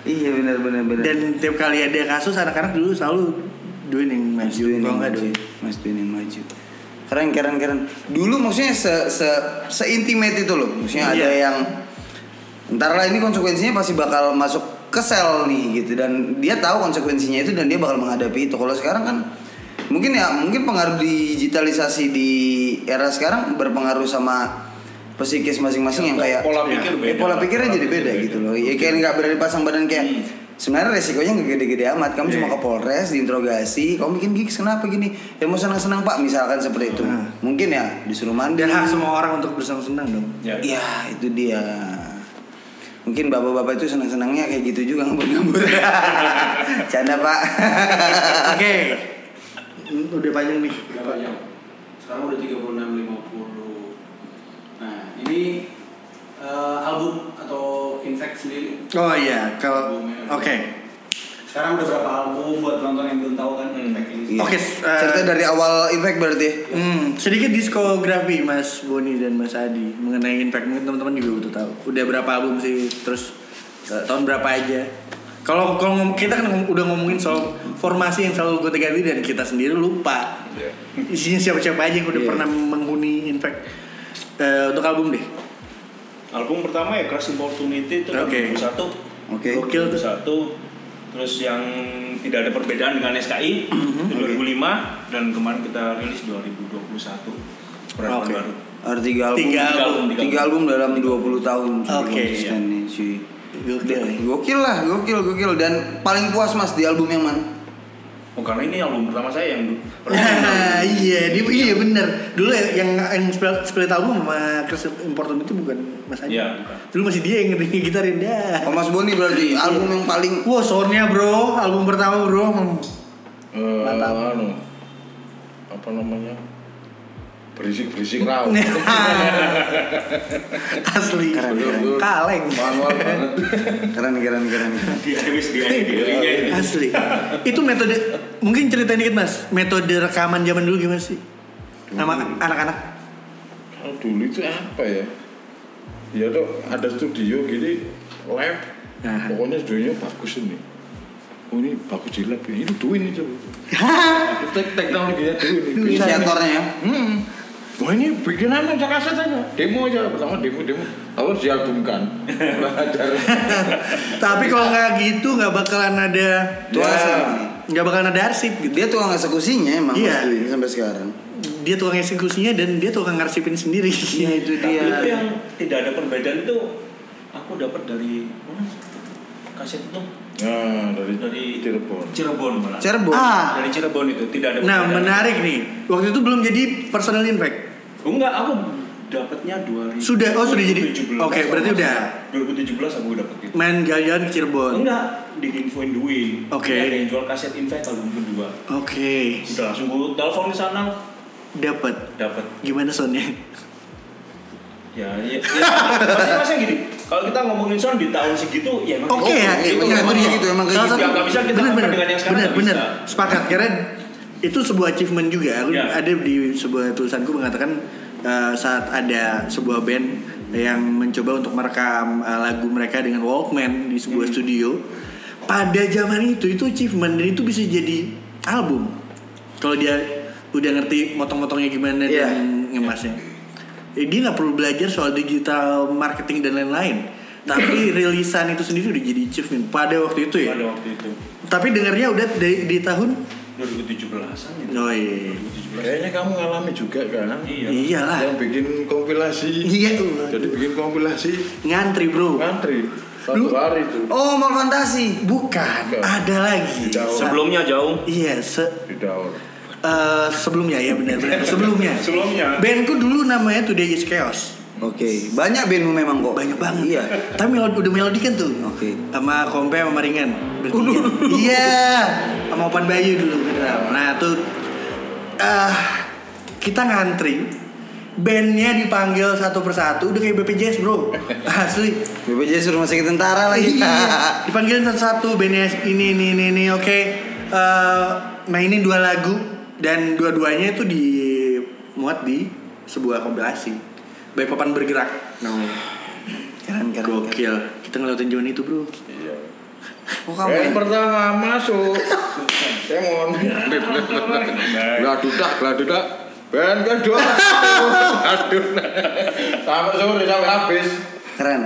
Speaker 2: Iya benar benar benar.
Speaker 3: Dan tiap kali ada kasus anak-anak dulu selalu duin yang
Speaker 2: Mas
Speaker 3: maju,
Speaker 2: Dwin
Speaker 3: kalau
Speaker 2: yang
Speaker 3: nggak
Speaker 2: maju.
Speaker 3: duin.
Speaker 2: Mas Dwin yang maju. Keren keren keren. Dulu maksudnya se se seintimate itu loh. Maksudnya ada
Speaker 3: Iya.
Speaker 2: yang ntar lah ini konsekuensinya pasti bakal masuk ke sel nih gitu dan dia tahu konsekuensinya itu dan dia bakal menghadapi itu. Kalau sekarang kan mungkin ya mungkin pengaruh digitalisasi di era sekarang berpengaruh sama psikis masing-masing yang kayak
Speaker 4: pola pikir
Speaker 2: Ya,
Speaker 4: beda.
Speaker 2: pola pikirnya jadi beda gitu loh ya kayak nggak berani pasang badan kayak sebenarnya resikonya nggak gede-gede amat kamu
Speaker 3: Iya.
Speaker 2: cuma ke Polres diinterogasi kamu bikin gigs kenapa gini ya mau senang-senang pak misalkan seperti itu
Speaker 3: Nah.
Speaker 2: mungkin ya disuruh mandi
Speaker 3: Dan hak semua orang untuk bersenang-senang
Speaker 2: <laughs>
Speaker 3: dong.
Speaker 4: Ya.
Speaker 2: Iya itu dia mungkin bapak-bapak itu senang-senangnya kayak gitu juga
Speaker 3: <laughs>
Speaker 2: ngabur-ngabur canda pak
Speaker 3: Oke. Hmm, Udah panjang nih.
Speaker 1: Udah banyak. Sekarang udah 36.50. Nah, ini eh, album atau infect sendiri.
Speaker 3: Oh iya, kalau oke.
Speaker 1: Sekarang udah berapa album buat nonton yang belum tahu kan
Speaker 4: Hmm.
Speaker 1: infect ini.
Speaker 2: Iya.
Speaker 3: Oke, s- eh,
Speaker 2: cerita dari awal impact berarti ya?
Speaker 3: Hmm, sedikit diskografi Mas Boni dan Mas Adi mengenai Impact mungkin teman-teman juga butuh tahu. Udah berapa album sih? Terus eh, tahun berapa aja? Kalau kalau ngom- kita kan ngom- udah ngomongin soal formasi yang selalu gue ganti dan kita sendiri lupa.
Speaker 4: Iya.
Speaker 3: Isinya siapa-siapa aja yang udah
Speaker 2: Iya.
Speaker 3: pernah menghuni Impact Eh, untuk album deh.
Speaker 4: Album pertama ya Crash Opportunity itu kan
Speaker 3: Oke.
Speaker 4: okay. 21
Speaker 2: oke
Speaker 3: Gokil tuh.
Speaker 4: satu terus yang tidak ada perbedaan dengan SKI
Speaker 3: Mhm.
Speaker 4: di 2005 dan kemarin kita rilis 2021 peraturan
Speaker 3: Oke.
Speaker 4: baru
Speaker 2: ada tiga album
Speaker 3: Tiga album.
Speaker 2: tiga album dalam 20 tahun cuy,
Speaker 3: Oke, iya.
Speaker 2: konsisten nih cuy
Speaker 3: Gokil. ya? nih.
Speaker 2: gokil lah gokil gokil dan paling puas mas di album yang mana
Speaker 4: oh karena ini album pertama saya yang
Speaker 3: <laughs>
Speaker 4: du-
Speaker 3: Nah, <laughs> iya, dia, iya bener. Dulu yang yang split, split album sama Chris Important itu bukan Mas Adi.
Speaker 4: Iya, bukan.
Speaker 3: Dulu masih dia yang ngegitarin dah.
Speaker 2: oh, mas Boni berarti album yang paling
Speaker 3: Wah, soundnya bro, album pertama bro. Hmm.
Speaker 5: Eh,
Speaker 3: Mantap.
Speaker 5: anu, apa namanya? Berisik-berisik raw.
Speaker 3: <laughs> Asli.
Speaker 2: Keren,
Speaker 5: keren.
Speaker 3: Kaleng. <laughs>
Speaker 5: Manual banget.
Speaker 2: keren keren keren
Speaker 4: di rilis di dirinya ini
Speaker 3: Asli. Itu metode mungkin ceritain dikit Mas, metode rekaman zaman dulu gimana sih? Sama anak-anak.
Speaker 5: Kalau Oh, dulu itu apa ya? Ya tuh ada studio gini lab.
Speaker 3: Nah.
Speaker 5: Pokoknya studionya bagus ini. Oh ini bagus di lab ini. Itu duit itu. <laughs> Tek teknologinya duit ini.
Speaker 2: inisiatornya ya
Speaker 5: Hmm. Wah ini bikin apa aja kaset aja. Demo aja pertama demo demo. Lalu <laughs> dialbumkan. Belajar.
Speaker 3: Tapi kalau nggak gitu nggak bakalan ada eh,
Speaker 2: Tuh, asli.
Speaker 3: nggak bakalan ada arsip gitu.
Speaker 2: dia tukang eksekusinya emang
Speaker 3: Iya.
Speaker 2: mas Dwi sampai sekarang
Speaker 3: dia tukang eksekusinya dan dia tukang ngarsipin sendiri. Iya itu
Speaker 4: tapi itu yang tidak ada perbedaan itu aku dapat dari mana kaset itu
Speaker 5: Nah dari
Speaker 4: dari
Speaker 5: Cirebon.
Speaker 4: Cirebon malah
Speaker 2: Cirebon
Speaker 3: Ah.
Speaker 4: dari Cirebon itu tidak ada
Speaker 3: Nah
Speaker 4: perbedaan.
Speaker 3: menarik nih. Waktu itu belum jadi personal impact.
Speaker 4: Oh, enggak aku dapatnya 2000
Speaker 3: Sudah, oh, sudah jadi.
Speaker 4: 2017.
Speaker 3: Oke, berarti udah.
Speaker 4: 2017 aku dapat itu
Speaker 3: Main jalan-jalan ke Cirebon.
Speaker 4: enggak diinfoin duit
Speaker 3: Oke.
Speaker 4: ada yang jual kaset infek album kedua
Speaker 3: Oke,
Speaker 4: udah langsung gue telepon ke sana
Speaker 3: dapat.
Speaker 4: dapat
Speaker 3: Gimana soundnya?
Speaker 4: ya
Speaker 3: <laughs>
Speaker 4: ya, ya. maksudnya maksudnya gini kalau kita ngomongin sound di tahun segitu ya emang
Speaker 3: Oke ya,
Speaker 2: itu
Speaker 3: iya,
Speaker 2: emang
Speaker 3: iya.
Speaker 2: kayak gitu, emang kayak
Speaker 3: Salah
Speaker 2: gitu.
Speaker 3: satu-
Speaker 4: Yang nggak bisa kita
Speaker 3: bener,
Speaker 4: lakukan
Speaker 3: bener,
Speaker 4: dengan yang sekarang
Speaker 3: bener,
Speaker 4: nggak
Speaker 3: bener.
Speaker 4: bisa.
Speaker 3: Sepakat karena itu sebuah achievement juga. Aku
Speaker 4: Ya.
Speaker 3: ada di sebuah tulisanku mengatakan eh, saat ada sebuah band yang mencoba untuk merekam eh, lagu mereka dengan Walkman di
Speaker 4: Hmm.
Speaker 3: sebuah studio. Pada zaman itu itu achievement dan itu bisa jadi album. Kalau dia udah ngerti motong-motongnya gimana
Speaker 2: Iya.
Speaker 3: dan ngemasnya. Eh, Dia nggak perlu belajar soal digital marketing dan lain-lain. Tapi rilisan itu sendiri udah jadi achievement pada waktu itu ya.
Speaker 4: pada waktu itu
Speaker 3: Tapi dengarnya udah di, di tahun
Speaker 4: 2017an gitu
Speaker 3: Oh iya.
Speaker 4: 2017
Speaker 5: Kayaknya kamu ngalami juga kan?
Speaker 4: iya
Speaker 3: Iyalah.
Speaker 5: Yang bikin kompilasi.
Speaker 3: Iya.
Speaker 5: Jadi bikin kompilasi
Speaker 3: Ngantri, Bro.
Speaker 5: ngantri
Speaker 3: Dulu-
Speaker 5: satu hari itu.
Speaker 2: oh mal fantasi
Speaker 3: Bukan,
Speaker 5: Enggak.
Speaker 3: ada lagi.
Speaker 5: Jauh.
Speaker 4: sebelumnya jauh
Speaker 3: Iya, se-
Speaker 5: Di daur.
Speaker 3: eh, sebelumnya ya benar-benar sebelumnya.
Speaker 4: sebelumnya
Speaker 3: Bandku dulu namanya Today is Chaos.
Speaker 2: oke banyak bandmu memang kok
Speaker 3: Banyak banget.
Speaker 2: iya
Speaker 3: Tapi melodi, udah melodikan tuh.
Speaker 2: Oke.
Speaker 3: Sama Kompe sama Ringan. bertiga. Iya. <laughs> Sama Opan Bayu dulu kita. Nah, tuh ah, kita ngantri. Bandnya dipanggil satu persatu udah kayak BPJS <laughs> bro asli
Speaker 2: BPJS rumah sakit tentara lagi <laughs>
Speaker 3: Iya. dipanggil satu-satu bandnya ini ini ini ini oke Eh, mainin dua lagu dan dua-duanya itu dimuat di sebuah kompilasi baik papan bergerak namanya
Speaker 2: keren keren keren.
Speaker 3: Gokil. Kita ngeliatin John itu, Bro.
Speaker 5: Iya.
Speaker 2: kok kamu
Speaker 4: Eh,
Speaker 3: Eh.
Speaker 5: Yang pertama masuk. Demon. Gladudak, gladudak. Ben kedua. Aduh. Sampai sore sampai habis.
Speaker 2: keren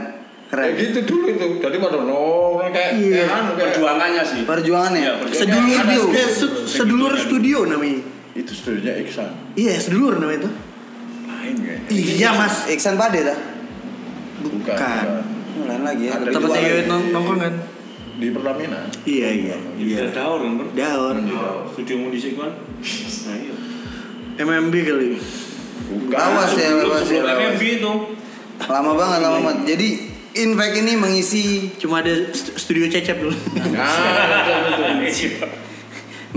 Speaker 2: keren
Speaker 5: Kayak gitu dulu itu. Jadi pada nongkrong kayak
Speaker 3: Iya.
Speaker 5: kayak anu, kayak-
Speaker 4: Kan perjuangannya sih
Speaker 2: perjuangannya
Speaker 4: Iya, perjuangan.
Speaker 3: Sedulur
Speaker 5: Ada
Speaker 3: studio.
Speaker 5: studio.
Speaker 3: Se- Sedulur studio namanya.
Speaker 5: Itu studionya Iksan.
Speaker 3: Iya, sedulur namanya itu.
Speaker 5: Lain kayaknya.
Speaker 3: Iya, Mas.
Speaker 2: Iksan Pade dah
Speaker 3: Bukan.
Speaker 5: Bukan. gitu. bukan.
Speaker 2: lain lagi ya
Speaker 5: Ada
Speaker 2: berdua.
Speaker 3: Tempatnya
Speaker 5: Iya.
Speaker 3: Yoyot nong- nongkrong kan.
Speaker 5: di Pertamina.
Speaker 3: Iya iya iya.
Speaker 4: Iya. Daur kan bro?
Speaker 3: Daur.
Speaker 4: Studio mu di situ kan? Nah iya.
Speaker 3: MMB kali.
Speaker 5: Bukan.
Speaker 2: Awas
Speaker 3: Iya,
Speaker 2: ya,
Speaker 4: Sebelum-
Speaker 2: awas ya.
Speaker 4: sebelum
Speaker 2: awas.
Speaker 4: MMB itu.
Speaker 2: Lama banget, lama banget. Jadi Infect ini mengisi
Speaker 3: Cuma ada st- studio cecep dulu. Ah,
Speaker 5: Nah,
Speaker 4: <laughs> Iya.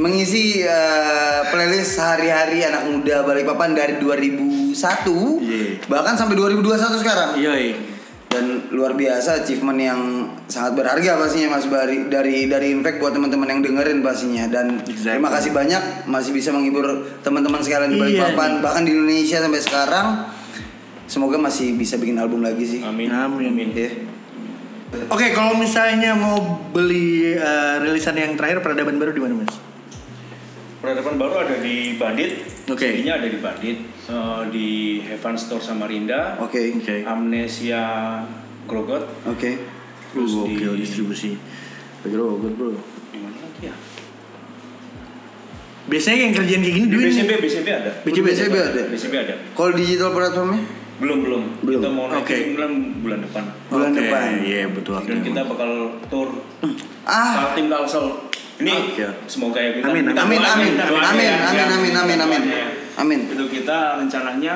Speaker 2: mengisi eh, playlist sehari-hari anak muda Balikpapan dari 2001
Speaker 3: Iya.
Speaker 2: bahkan sampai 2021 sekarang.
Speaker 3: <laughs> Iya iya.
Speaker 2: Dan luar biasa achievement yang sangat berharga pastinya Mas Bari dari dari Infect buat teman-teman yang dengerin pastinya dan
Speaker 3: Exactly.
Speaker 2: terima kasih banyak masih bisa menghibur teman-teman sekalian di
Speaker 3: Iya,
Speaker 2: Balikpapan
Speaker 3: nih.
Speaker 2: bahkan di Indonesia sampai sekarang. Semoga masih bisa bikin album lagi sih.
Speaker 4: Amin.
Speaker 3: Amin. Iya.
Speaker 2: Ya.
Speaker 3: Oke, kalau misalnya mau beli eh, rilisan yang terakhir peradaban baru di mana mas?
Speaker 4: Peradaban baru ada di Bandit.
Speaker 3: Oke.
Speaker 4: CD-nya ada di Bandit. Eh, di Heaven Store Samarinda.
Speaker 2: Oke.
Speaker 3: Oke.
Speaker 4: Amnesia Grogot.
Speaker 2: Oke.
Speaker 3: Oh,
Speaker 4: Terus
Speaker 3: Terus
Speaker 4: di-
Speaker 3: distribusi. Grogot bro.
Speaker 4: Di mana lagi ya?
Speaker 3: Biasanya yang kerjaan kayak gini
Speaker 4: Di
Speaker 3: duit.
Speaker 4: BCB, BCB ada.
Speaker 3: BCB.
Speaker 2: BCB ada.
Speaker 4: BCB ada.
Speaker 2: Kalau digital platformnya
Speaker 4: Belum belum.
Speaker 2: Belum.
Speaker 4: Kita mau
Speaker 3: Oke.
Speaker 4: naikin bulan bulan depan.
Speaker 2: bulan
Speaker 3: Oke,
Speaker 2: depan.
Speaker 3: Iya betul.
Speaker 4: Dan kita bakal tour
Speaker 2: Ah,
Speaker 4: Kaltim Kalsel. Ini
Speaker 3: Oke.
Speaker 4: semoga ya kita.
Speaker 3: Amin,
Speaker 4: kita
Speaker 2: Iya. Amin
Speaker 4: doain,
Speaker 2: amin
Speaker 4: kita doain
Speaker 2: amin
Speaker 4: ya.
Speaker 2: amin amin amin amin
Speaker 4: Doain ya.
Speaker 2: amin.
Speaker 4: Itu kita rencananya.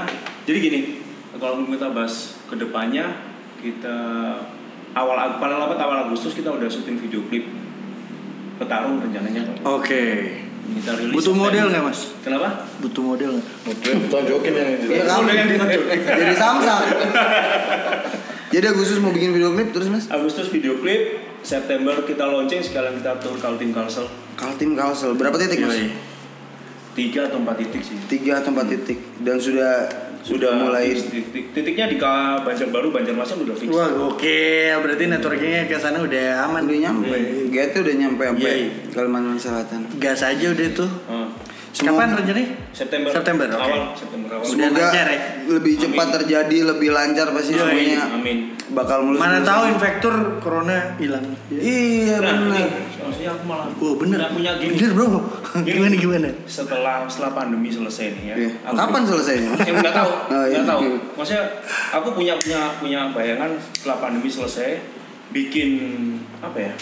Speaker 4: Jadi gini, kalau kita bahas kedepannya kita awal Ag- pada lapat awal Agustus kita udah syuting video klip petarung rencananya.
Speaker 3: Oke.
Speaker 4: Kita rilis.
Speaker 3: Butuh
Speaker 4: September.
Speaker 3: model nggak mas?
Speaker 4: Kenapa?
Speaker 3: Butuh model nggak?
Speaker 5: Betul, tonjokin yang di
Speaker 2: Iya kamu
Speaker 4: Udah yang ditunjuk.
Speaker 2: jadi
Speaker 3: <laughs>
Speaker 2: samsang. Jadi Agustus mau bikin video klip terus mas?
Speaker 4: Agustus video klip, September kita launching sekalian kita tour Kaltim Kalsel
Speaker 2: Kaltim Kalsel Eh, berapa titik mas?
Speaker 3: Yoi.
Speaker 4: tiga atau empat titik sih.
Speaker 2: Tiga atau empat titik dan sudah sudah mulai.
Speaker 4: fix titik, titiknya di Ka- Banjarbaru, Banjarmasin udah fix.
Speaker 3: Wah gokil, berarti networkingnya ke sana udah aman
Speaker 2: Udah nyampe, GT Hmm. udah nyampe sampai
Speaker 3: Iya.
Speaker 2: Kalimantan Selatan.
Speaker 3: Gas aja udah tuh.
Speaker 4: Ah,
Speaker 2: Semua-
Speaker 3: Kapan rencananya?
Speaker 4: September.
Speaker 3: September, oke.
Speaker 4: Awal September awal.
Speaker 3: Sudah
Speaker 2: Semoga
Speaker 3: lancar ya?
Speaker 2: lebih cepat terjadi, lebih lancar pasti
Speaker 3: Yoi.
Speaker 2: semuanya
Speaker 4: Amin.
Speaker 2: bakal mulus.
Speaker 3: Mana
Speaker 2: mulus.
Speaker 3: tahu infektur corona hilang.
Speaker 2: Iya
Speaker 4: Nah, ini
Speaker 2: benar.
Speaker 4: maksudnya aku malah
Speaker 3: Oh bener.
Speaker 4: nggak punya gini.
Speaker 3: Bener bro. Gimana gimana?
Speaker 4: Setelah setelah pandemi selesai nih ya.
Speaker 2: Iya.
Speaker 4: aku-
Speaker 2: Kapan selesainya?
Speaker 4: Ya nggak tahu,
Speaker 2: <laughs> Oh, iya.
Speaker 4: nggak tahu. Maksudnya aku punya punya punya bayangan setelah pandemi selesai bikin apa ya?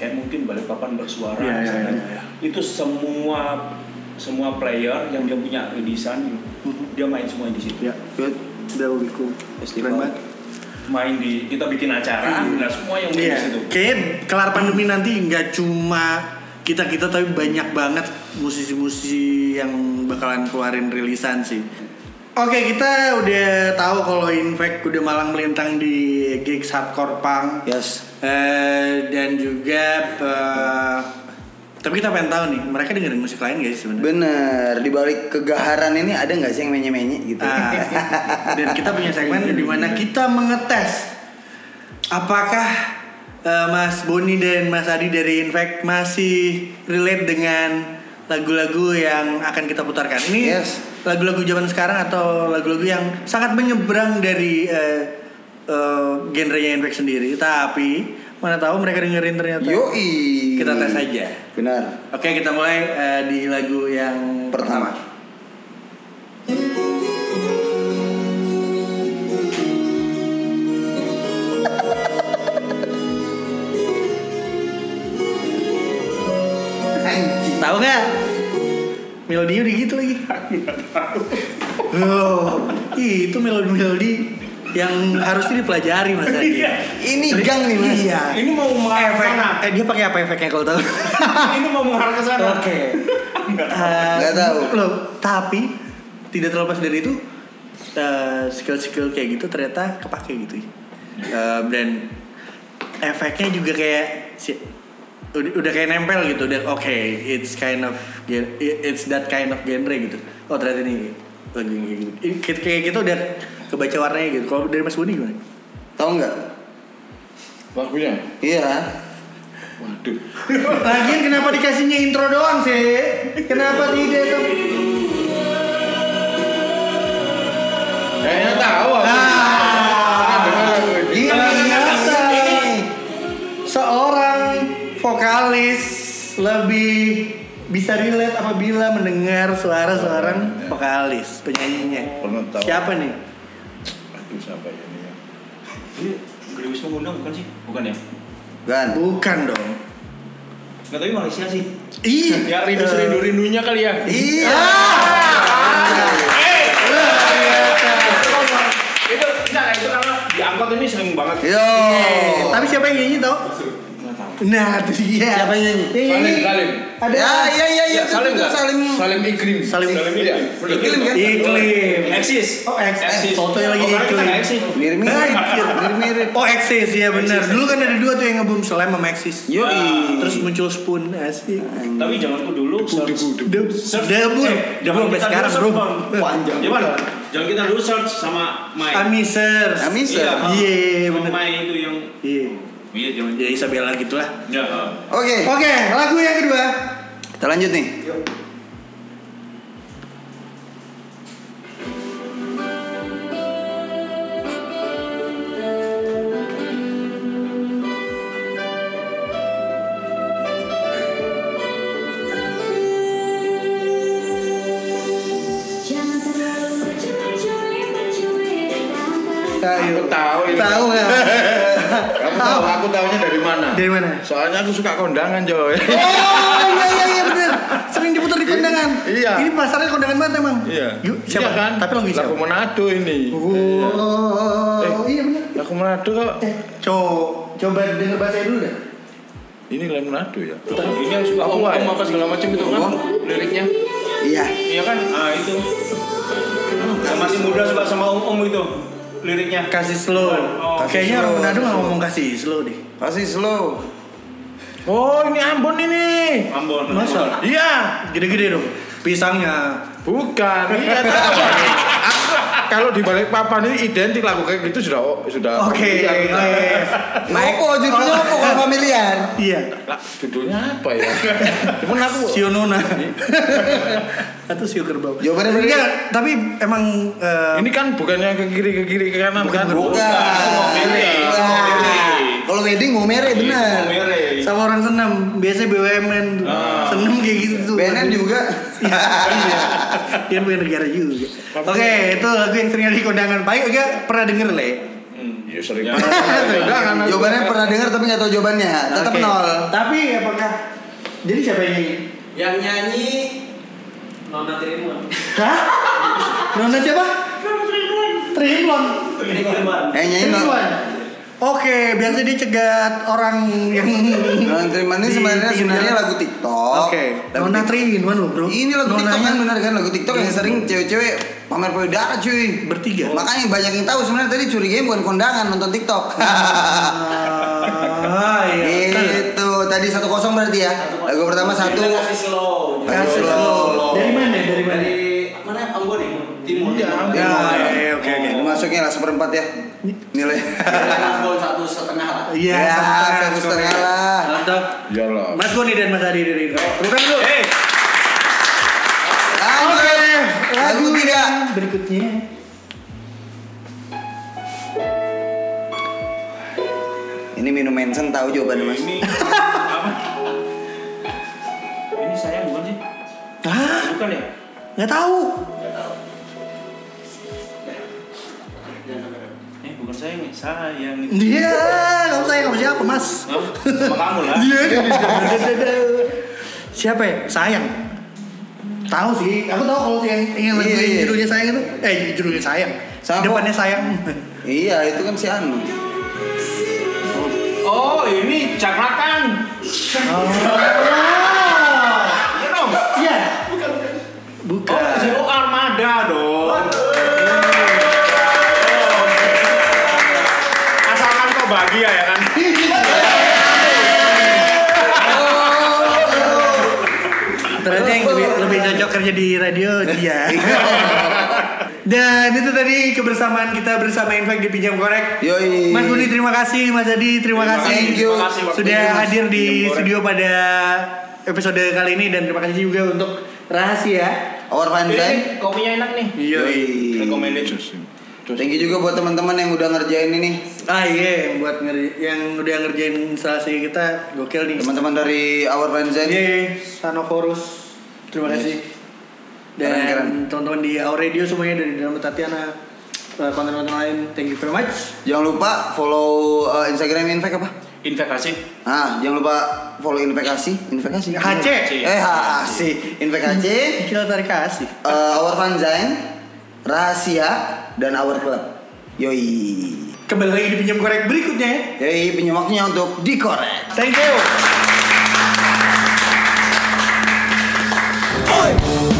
Speaker 4: Kayak mungkin Balikpapan bersuara
Speaker 3: Iya, iya,
Speaker 4: misalnya.
Speaker 3: iya, iya.
Speaker 4: Itu semua semua player yang dia punya rilisan dia main semua di situ.
Speaker 3: Ya, good. Udah lebih cool. Keren
Speaker 4: Festival.
Speaker 3: banget.
Speaker 4: Main di kita bikin acara, nah semua yang
Speaker 3: Iya.
Speaker 4: main di situ.
Speaker 3: Kayaknya kelar pandemi nanti nggak cuma kita kita tapi banyak banget musisi-musisi yang bakalan keluarin rilisan sih. Oke kita udah tahu kalau Infect udah malang melintang di gigs hardcore punk.
Speaker 2: Yes.
Speaker 3: Eh, dan juga eh, tapi kita pengen tahu nih mereka dengerin musik lain gak sih sebenarnya
Speaker 2: Bener, di balik kegaharan ini ada nggak sih yang menye-menye gitu?
Speaker 3: Ah, dan kita punya segmen di mana kita mengetes apakah eh, Mas Boni dan Mas Adi dari Infect masih relate dengan lagu-lagu yang akan kita putarkan ini
Speaker 2: Yes.
Speaker 3: lagu-lagu zaman sekarang atau lagu-lagu yang sangat menyeberang dari eh, eh, genrenya Infect sendiri tapi mana tahu mereka dengerin ternyata
Speaker 2: <laughs> Yoi.
Speaker 3: Kita tes aja.
Speaker 2: Benar.
Speaker 3: Oke kita mulai eh, di lagu yang
Speaker 2: Pertama. Anjing.
Speaker 3: Tahu nggak? Melodinya udah gitu lagi. Oh, ih, itu melodi-melodi yang harusnya dipelajari mas Adi.
Speaker 2: Iya. Ini gang nih mas.
Speaker 3: Iya.
Speaker 4: Ini mau mengarah ke
Speaker 3: Efek.
Speaker 4: sana.
Speaker 3: Eh dia pakai apa efeknya kalau tahu?
Speaker 4: Ini mau mengarah ke sana.
Speaker 3: Oke. Eh,
Speaker 2: Nggak tahu.
Speaker 3: Loh, tapi tidak terlepas dari itu eh, skill-skill kayak gitu ternyata kepake gitu. ya. Eh, dan efeknya juga kayak si, udah, udah kayak nempel gitu. Dan oke, it's kind of gen- it's that kind of genre gitu. Oh ternyata ini lagu yang kayak gitu. Ini kayak- Kayak gitu udah kebaca warnanya gitu. Kalau dari Mas Budi gimana?
Speaker 2: Tahu nggak?
Speaker 5: Lagunya.
Speaker 2: Iya.
Speaker 5: Waduh.
Speaker 3: Lagian kenapa dikasihnya intro doang sih? Kenapa tidak?
Speaker 5: Kayaknya tahu aku.
Speaker 3: Ah.
Speaker 5: Pernah dengar lagu ini.
Speaker 2: Iya.
Speaker 3: Ternyata seorang vokalis lebih bisa relate apabila mendengar suara seorang vokalis penyanyinya.
Speaker 5: Pernah tahu.
Speaker 3: Siapa nih?
Speaker 5: Aduh, siapa ini ya?
Speaker 4: Ini Geriwis mengundang bukan sih? Bukan ya?
Speaker 2: Gan.
Speaker 3: Bukan dong.
Speaker 4: Nggak tapi Malaysia sih.
Speaker 3: Ih,
Speaker 4: Ya
Speaker 3: rindu
Speaker 4: rindu
Speaker 3: serindu.
Speaker 4: rindunya kali ya.
Speaker 2: Iya.
Speaker 3: Iya.
Speaker 4: Itu enggak itu karena di angkot ini sering banget.
Speaker 2: Yo. Iya.
Speaker 3: Tapi siapa yang nyanyi tau?
Speaker 4: Nggak tahu.
Speaker 3: Nah, itu dia.
Speaker 2: Siapa yang nyanyi?
Speaker 3: Yang nyanyi.
Speaker 5: Salim, Salim.
Speaker 3: Ada.
Speaker 2: Ya, iya, iya, iya.
Speaker 5: Ya, salim
Speaker 2: Tentu,
Speaker 5: nggak?
Speaker 2: Salim.
Speaker 5: Salim Ikrim.
Speaker 3: Salim-
Speaker 5: Iya. bener.
Speaker 2: Iklim kan?
Speaker 4: Iklim. Eksis.
Speaker 3: Oh, X- kan
Speaker 4: Eksis.
Speaker 3: Sotoy lagi
Speaker 4: Oh, karena kita
Speaker 3: iklim.
Speaker 4: nggak eksis.
Speaker 2: Mirip-mirip,
Speaker 3: Hai.
Speaker 2: mirip-mirip.
Speaker 3: Nah, <laughs> Oh, Exis, ya benar. Dulu kan ada dua tuh yang ngebum Slam sama Exis.
Speaker 2: Yoi.
Speaker 3: Terus muncul Spoon, asik.
Speaker 4: Tapi zamanku dulu search.
Speaker 3: Debu,
Speaker 4: search-
Speaker 3: debu,
Speaker 4: eh,
Speaker 3: debu
Speaker 4: zaman
Speaker 3: sampai
Speaker 4: kita
Speaker 3: sekarang
Speaker 4: dulu Iya,
Speaker 3: bro.
Speaker 4: search, Bang.
Speaker 2: Panjang.
Speaker 4: Zaman jangan kita dulu search sama Mai.
Speaker 3: Amisers.
Speaker 2: Amis- Amisers.
Speaker 4: Iya, Bang.
Speaker 3: Iya,
Speaker 4: Sama
Speaker 3: bener.
Speaker 4: Mai itu yang
Speaker 3: Iya.
Speaker 4: iya zaman.
Speaker 3: Ya Isabella gitulah.
Speaker 4: Ya.
Speaker 2: Oke,
Speaker 3: Eh. Oke, lagu yang kedua.
Speaker 2: kita lanjut nih.
Speaker 6: Jangan terlalu mencuri-curi, mencuri kenangan.
Speaker 5: Aku tahu ini.
Speaker 3: Tahu <laughs> nggak?
Speaker 5: Kamu tahu aku tahunya dari mana?
Speaker 3: Dari mana?
Speaker 5: Soalnya aku suka kondangan, Joy.
Speaker 3: Oh, iya iya iya bener. Sering diputar di kondangan.
Speaker 5: Iya.
Speaker 3: Ini pasarnya kondangan banget emang.
Speaker 5: Iya.
Speaker 3: Yuk, siapa
Speaker 5: Iya kan?
Speaker 3: Tapi lagu siapa?
Speaker 5: Lagu Manado ini.
Speaker 3: Oh,
Speaker 5: Eh.
Speaker 3: iya bener.
Speaker 5: Lagu Manado kok.
Speaker 3: Eh, co- coba denger bahasanya dulu deh.
Speaker 5: Ini lagu Manado ya.
Speaker 4: Ini yang suka
Speaker 5: Papua ya?
Speaker 4: om apa segala macam itu kan liriknya.
Speaker 2: Iya.
Speaker 4: Iya kan? Ah itu. Yang masih muda suka sama om-om itu liriknya.
Speaker 3: Kasih slow.
Speaker 4: Oh,
Speaker 3: Kayaknya
Speaker 2: slow,
Speaker 3: orang Manado
Speaker 2: kasih
Speaker 3: nggak
Speaker 2: slow.
Speaker 3: ngomong kasih slow deh.
Speaker 2: Kasih slow.
Speaker 5: Oh, ini Ambon ini.
Speaker 4: Ambon.
Speaker 3: Masa?
Speaker 5: Iya.
Speaker 3: Gede-gede dong. Pisangnya.
Speaker 5: Bukan. Iya tahu. <laughs> Kalau di balik papan ini identik lagu kayak gitu sudah sudah.
Speaker 3: Oke.
Speaker 5: Iya, kita-
Speaker 2: Opo, judulnya opo Nah, kalau familiar?
Speaker 3: Iya.
Speaker 5: Lah, judulnya apa ya? Cuman aku
Speaker 3: Sio Nona. Atau Sio Kerbau.
Speaker 2: Jawabannya bener.
Speaker 3: Iya, tapi emang eh,
Speaker 5: ini kan bukannya ke kiri ke kiri ke kanan kan?
Speaker 2: Bukan.
Speaker 4: Mau
Speaker 2: Bukan.
Speaker 4: milih. Mau milih.
Speaker 2: Nah, Kalau wedding mau mere
Speaker 4: Om
Speaker 2: bener.
Speaker 4: Mere.
Speaker 3: sama orang senam, biasanya BUMN tuh.
Speaker 4: Ah.
Speaker 3: kan. senam kayak gitu tuh.
Speaker 2: BNN
Speaker 3: <laughs>
Speaker 2: juga.
Speaker 3: Iya, punya negara juga. Oke, itu lagu yang sering ada di kondangan. Paling agak pernah denger le.
Speaker 4: Hmm.
Speaker 5: Ya sering.
Speaker 4: Ya.
Speaker 5: Kondangan aku.
Speaker 2: kan? Jawabannya pernah dengar tapi nggak tahu jawabannya. Tetap
Speaker 3: Oke.
Speaker 2: nol.
Speaker 3: Tapi apakah jadi siapa yang nyanyi?
Speaker 1: Yang nyanyi Nona Trimuan.
Speaker 3: Hah? Nona siapa? Trimlon.
Speaker 1: Trimuan.
Speaker 2: Eh nyanyi nol.
Speaker 3: Trimlon. Oke, biasanya dia cegat orang yang
Speaker 2: Nona Triman ini
Speaker 3: Di
Speaker 2: sebenarnya
Speaker 3: pinggir
Speaker 2: sebenarnya
Speaker 3: jalan.
Speaker 2: lagu TikTok.
Speaker 3: Oke.
Speaker 2: Lagu
Speaker 3: Nona
Speaker 2: TikTok.
Speaker 3: Triwan loh, Bro.
Speaker 2: Oh. Ini lagu TikTok
Speaker 3: Nonanya
Speaker 2: kan bener kan lagu TikTok yang sering cewek-cewek pamer payudara cuy.
Speaker 3: bertiga.
Speaker 2: Makanya banyak yang tahu sebenarnya tadi curiganya bukan kondangan nonton TikTok.
Speaker 3: Ah, iya.
Speaker 2: Itu Gitu. tadi satu kosong berarti ya. Lagu pertama satu.
Speaker 1: Kita kasih slow.
Speaker 3: Kasih slow. Kan Dari mana? Dari mana?
Speaker 1: Dari mana? Ambon ya? Timur.
Speaker 5: Iya, Ambon.
Speaker 2: Ya,
Speaker 3: iya,
Speaker 2: oke oke. Ini Masuknya lah seperempat ya. Nilai.
Speaker 1: Dari
Speaker 2: <laughs>
Speaker 1: Ambon satu setengah lah.
Speaker 3: Iya,
Speaker 2: Ya, satu
Speaker 3: satu
Speaker 2: setengah lah.
Speaker 3: Mantap.
Speaker 5: Iyalah.
Speaker 3: Mas Boni dan Mas Adi dari Bukan lu.
Speaker 4: Eh,
Speaker 2: Oke. Lagu tiga.
Speaker 3: Berikutnya.
Speaker 2: Ini minum mensen tahu jawabannya mas.
Speaker 4: ini apa? Ini saya bukan sih?
Speaker 3: Ah,
Speaker 4: Bukan ya?
Speaker 3: nggak tahu.
Speaker 4: Eh, bukan saya nih. Sayang itu.
Speaker 3: Dia, kamu saya kamu ya, siapa, Mas? Iya.
Speaker 4: Hah? Sama kamu lah.
Speaker 3: siapa ya? Sayang. Tahu sih, aku tahu kalau yang ingin lagu
Speaker 2: Iya,
Speaker 3: yang
Speaker 2: iya.
Speaker 3: judulnya sayang itu, eh judulnya sayang.
Speaker 2: Sama.
Speaker 3: Depannya sayang.
Speaker 2: Iya itu kan si
Speaker 3: <laughs>
Speaker 2: Anu.
Speaker 4: Oh, ini kan cakrakan. Iya dong.
Speaker 3: Iya.
Speaker 4: Oh,
Speaker 3: Bukan.
Speaker 4: Zero Armada dong. Asalkan kau bahagia ya kan.
Speaker 3: Ternyata yang lebih, <laughs> lebih cocok kerja di radio dia. <laughs> Dan itu tadi kebersamaan kita bersama Infak di Pinjam Korek.
Speaker 2: Yoi.
Speaker 3: Mas Budi terima kasih, Mas Adi terima
Speaker 4: Terima
Speaker 3: kasih.
Speaker 2: Thank you.
Speaker 4: Terima kasih waktunya,
Speaker 3: Sudah
Speaker 4: Mas.
Speaker 3: hadir di
Speaker 4: Pinjam Korek.
Speaker 3: studio pada episode kali ini dan terima kasih juga untuk rahasia.
Speaker 2: Our fine
Speaker 4: Ini
Speaker 3: Iya.
Speaker 2: friend.
Speaker 4: kopinya enak nih. iya.
Speaker 2: Yoi.
Speaker 4: Recommended.
Speaker 2: Thank you juga buat teman-teman yang udah ngerjain ini.
Speaker 3: Ah iya, yang buat ngeri- yang udah ngerjain instalasi kita gokil nih.
Speaker 2: Teman-teman dari Our Fine Zen.
Speaker 3: Iya, Sanoforus. Terima kasih.
Speaker 2: Keren-keren.
Speaker 3: Dan teman-teman di Our Radio semuanya dari dalam Tatiana eh, konten-konten lain. Thank you very much.
Speaker 2: Jangan lupa follow uh, Instagram Infek apa?
Speaker 4: Investasi.
Speaker 2: Nah, jangan lupa follow Invekasi, Invekasi.
Speaker 3: HC.
Speaker 2: Eh, HAC, Invekasi,
Speaker 3: <laughs> Kita tarik kasih.
Speaker 2: eh, Our Fanzine, Rahasia dan Our Club. Yoi.
Speaker 3: Kembali lagi di pinjam korek berikutnya ya.
Speaker 2: Yoi penyemaknya untuk dikorek.
Speaker 3: Thank you.
Speaker 2: Oi.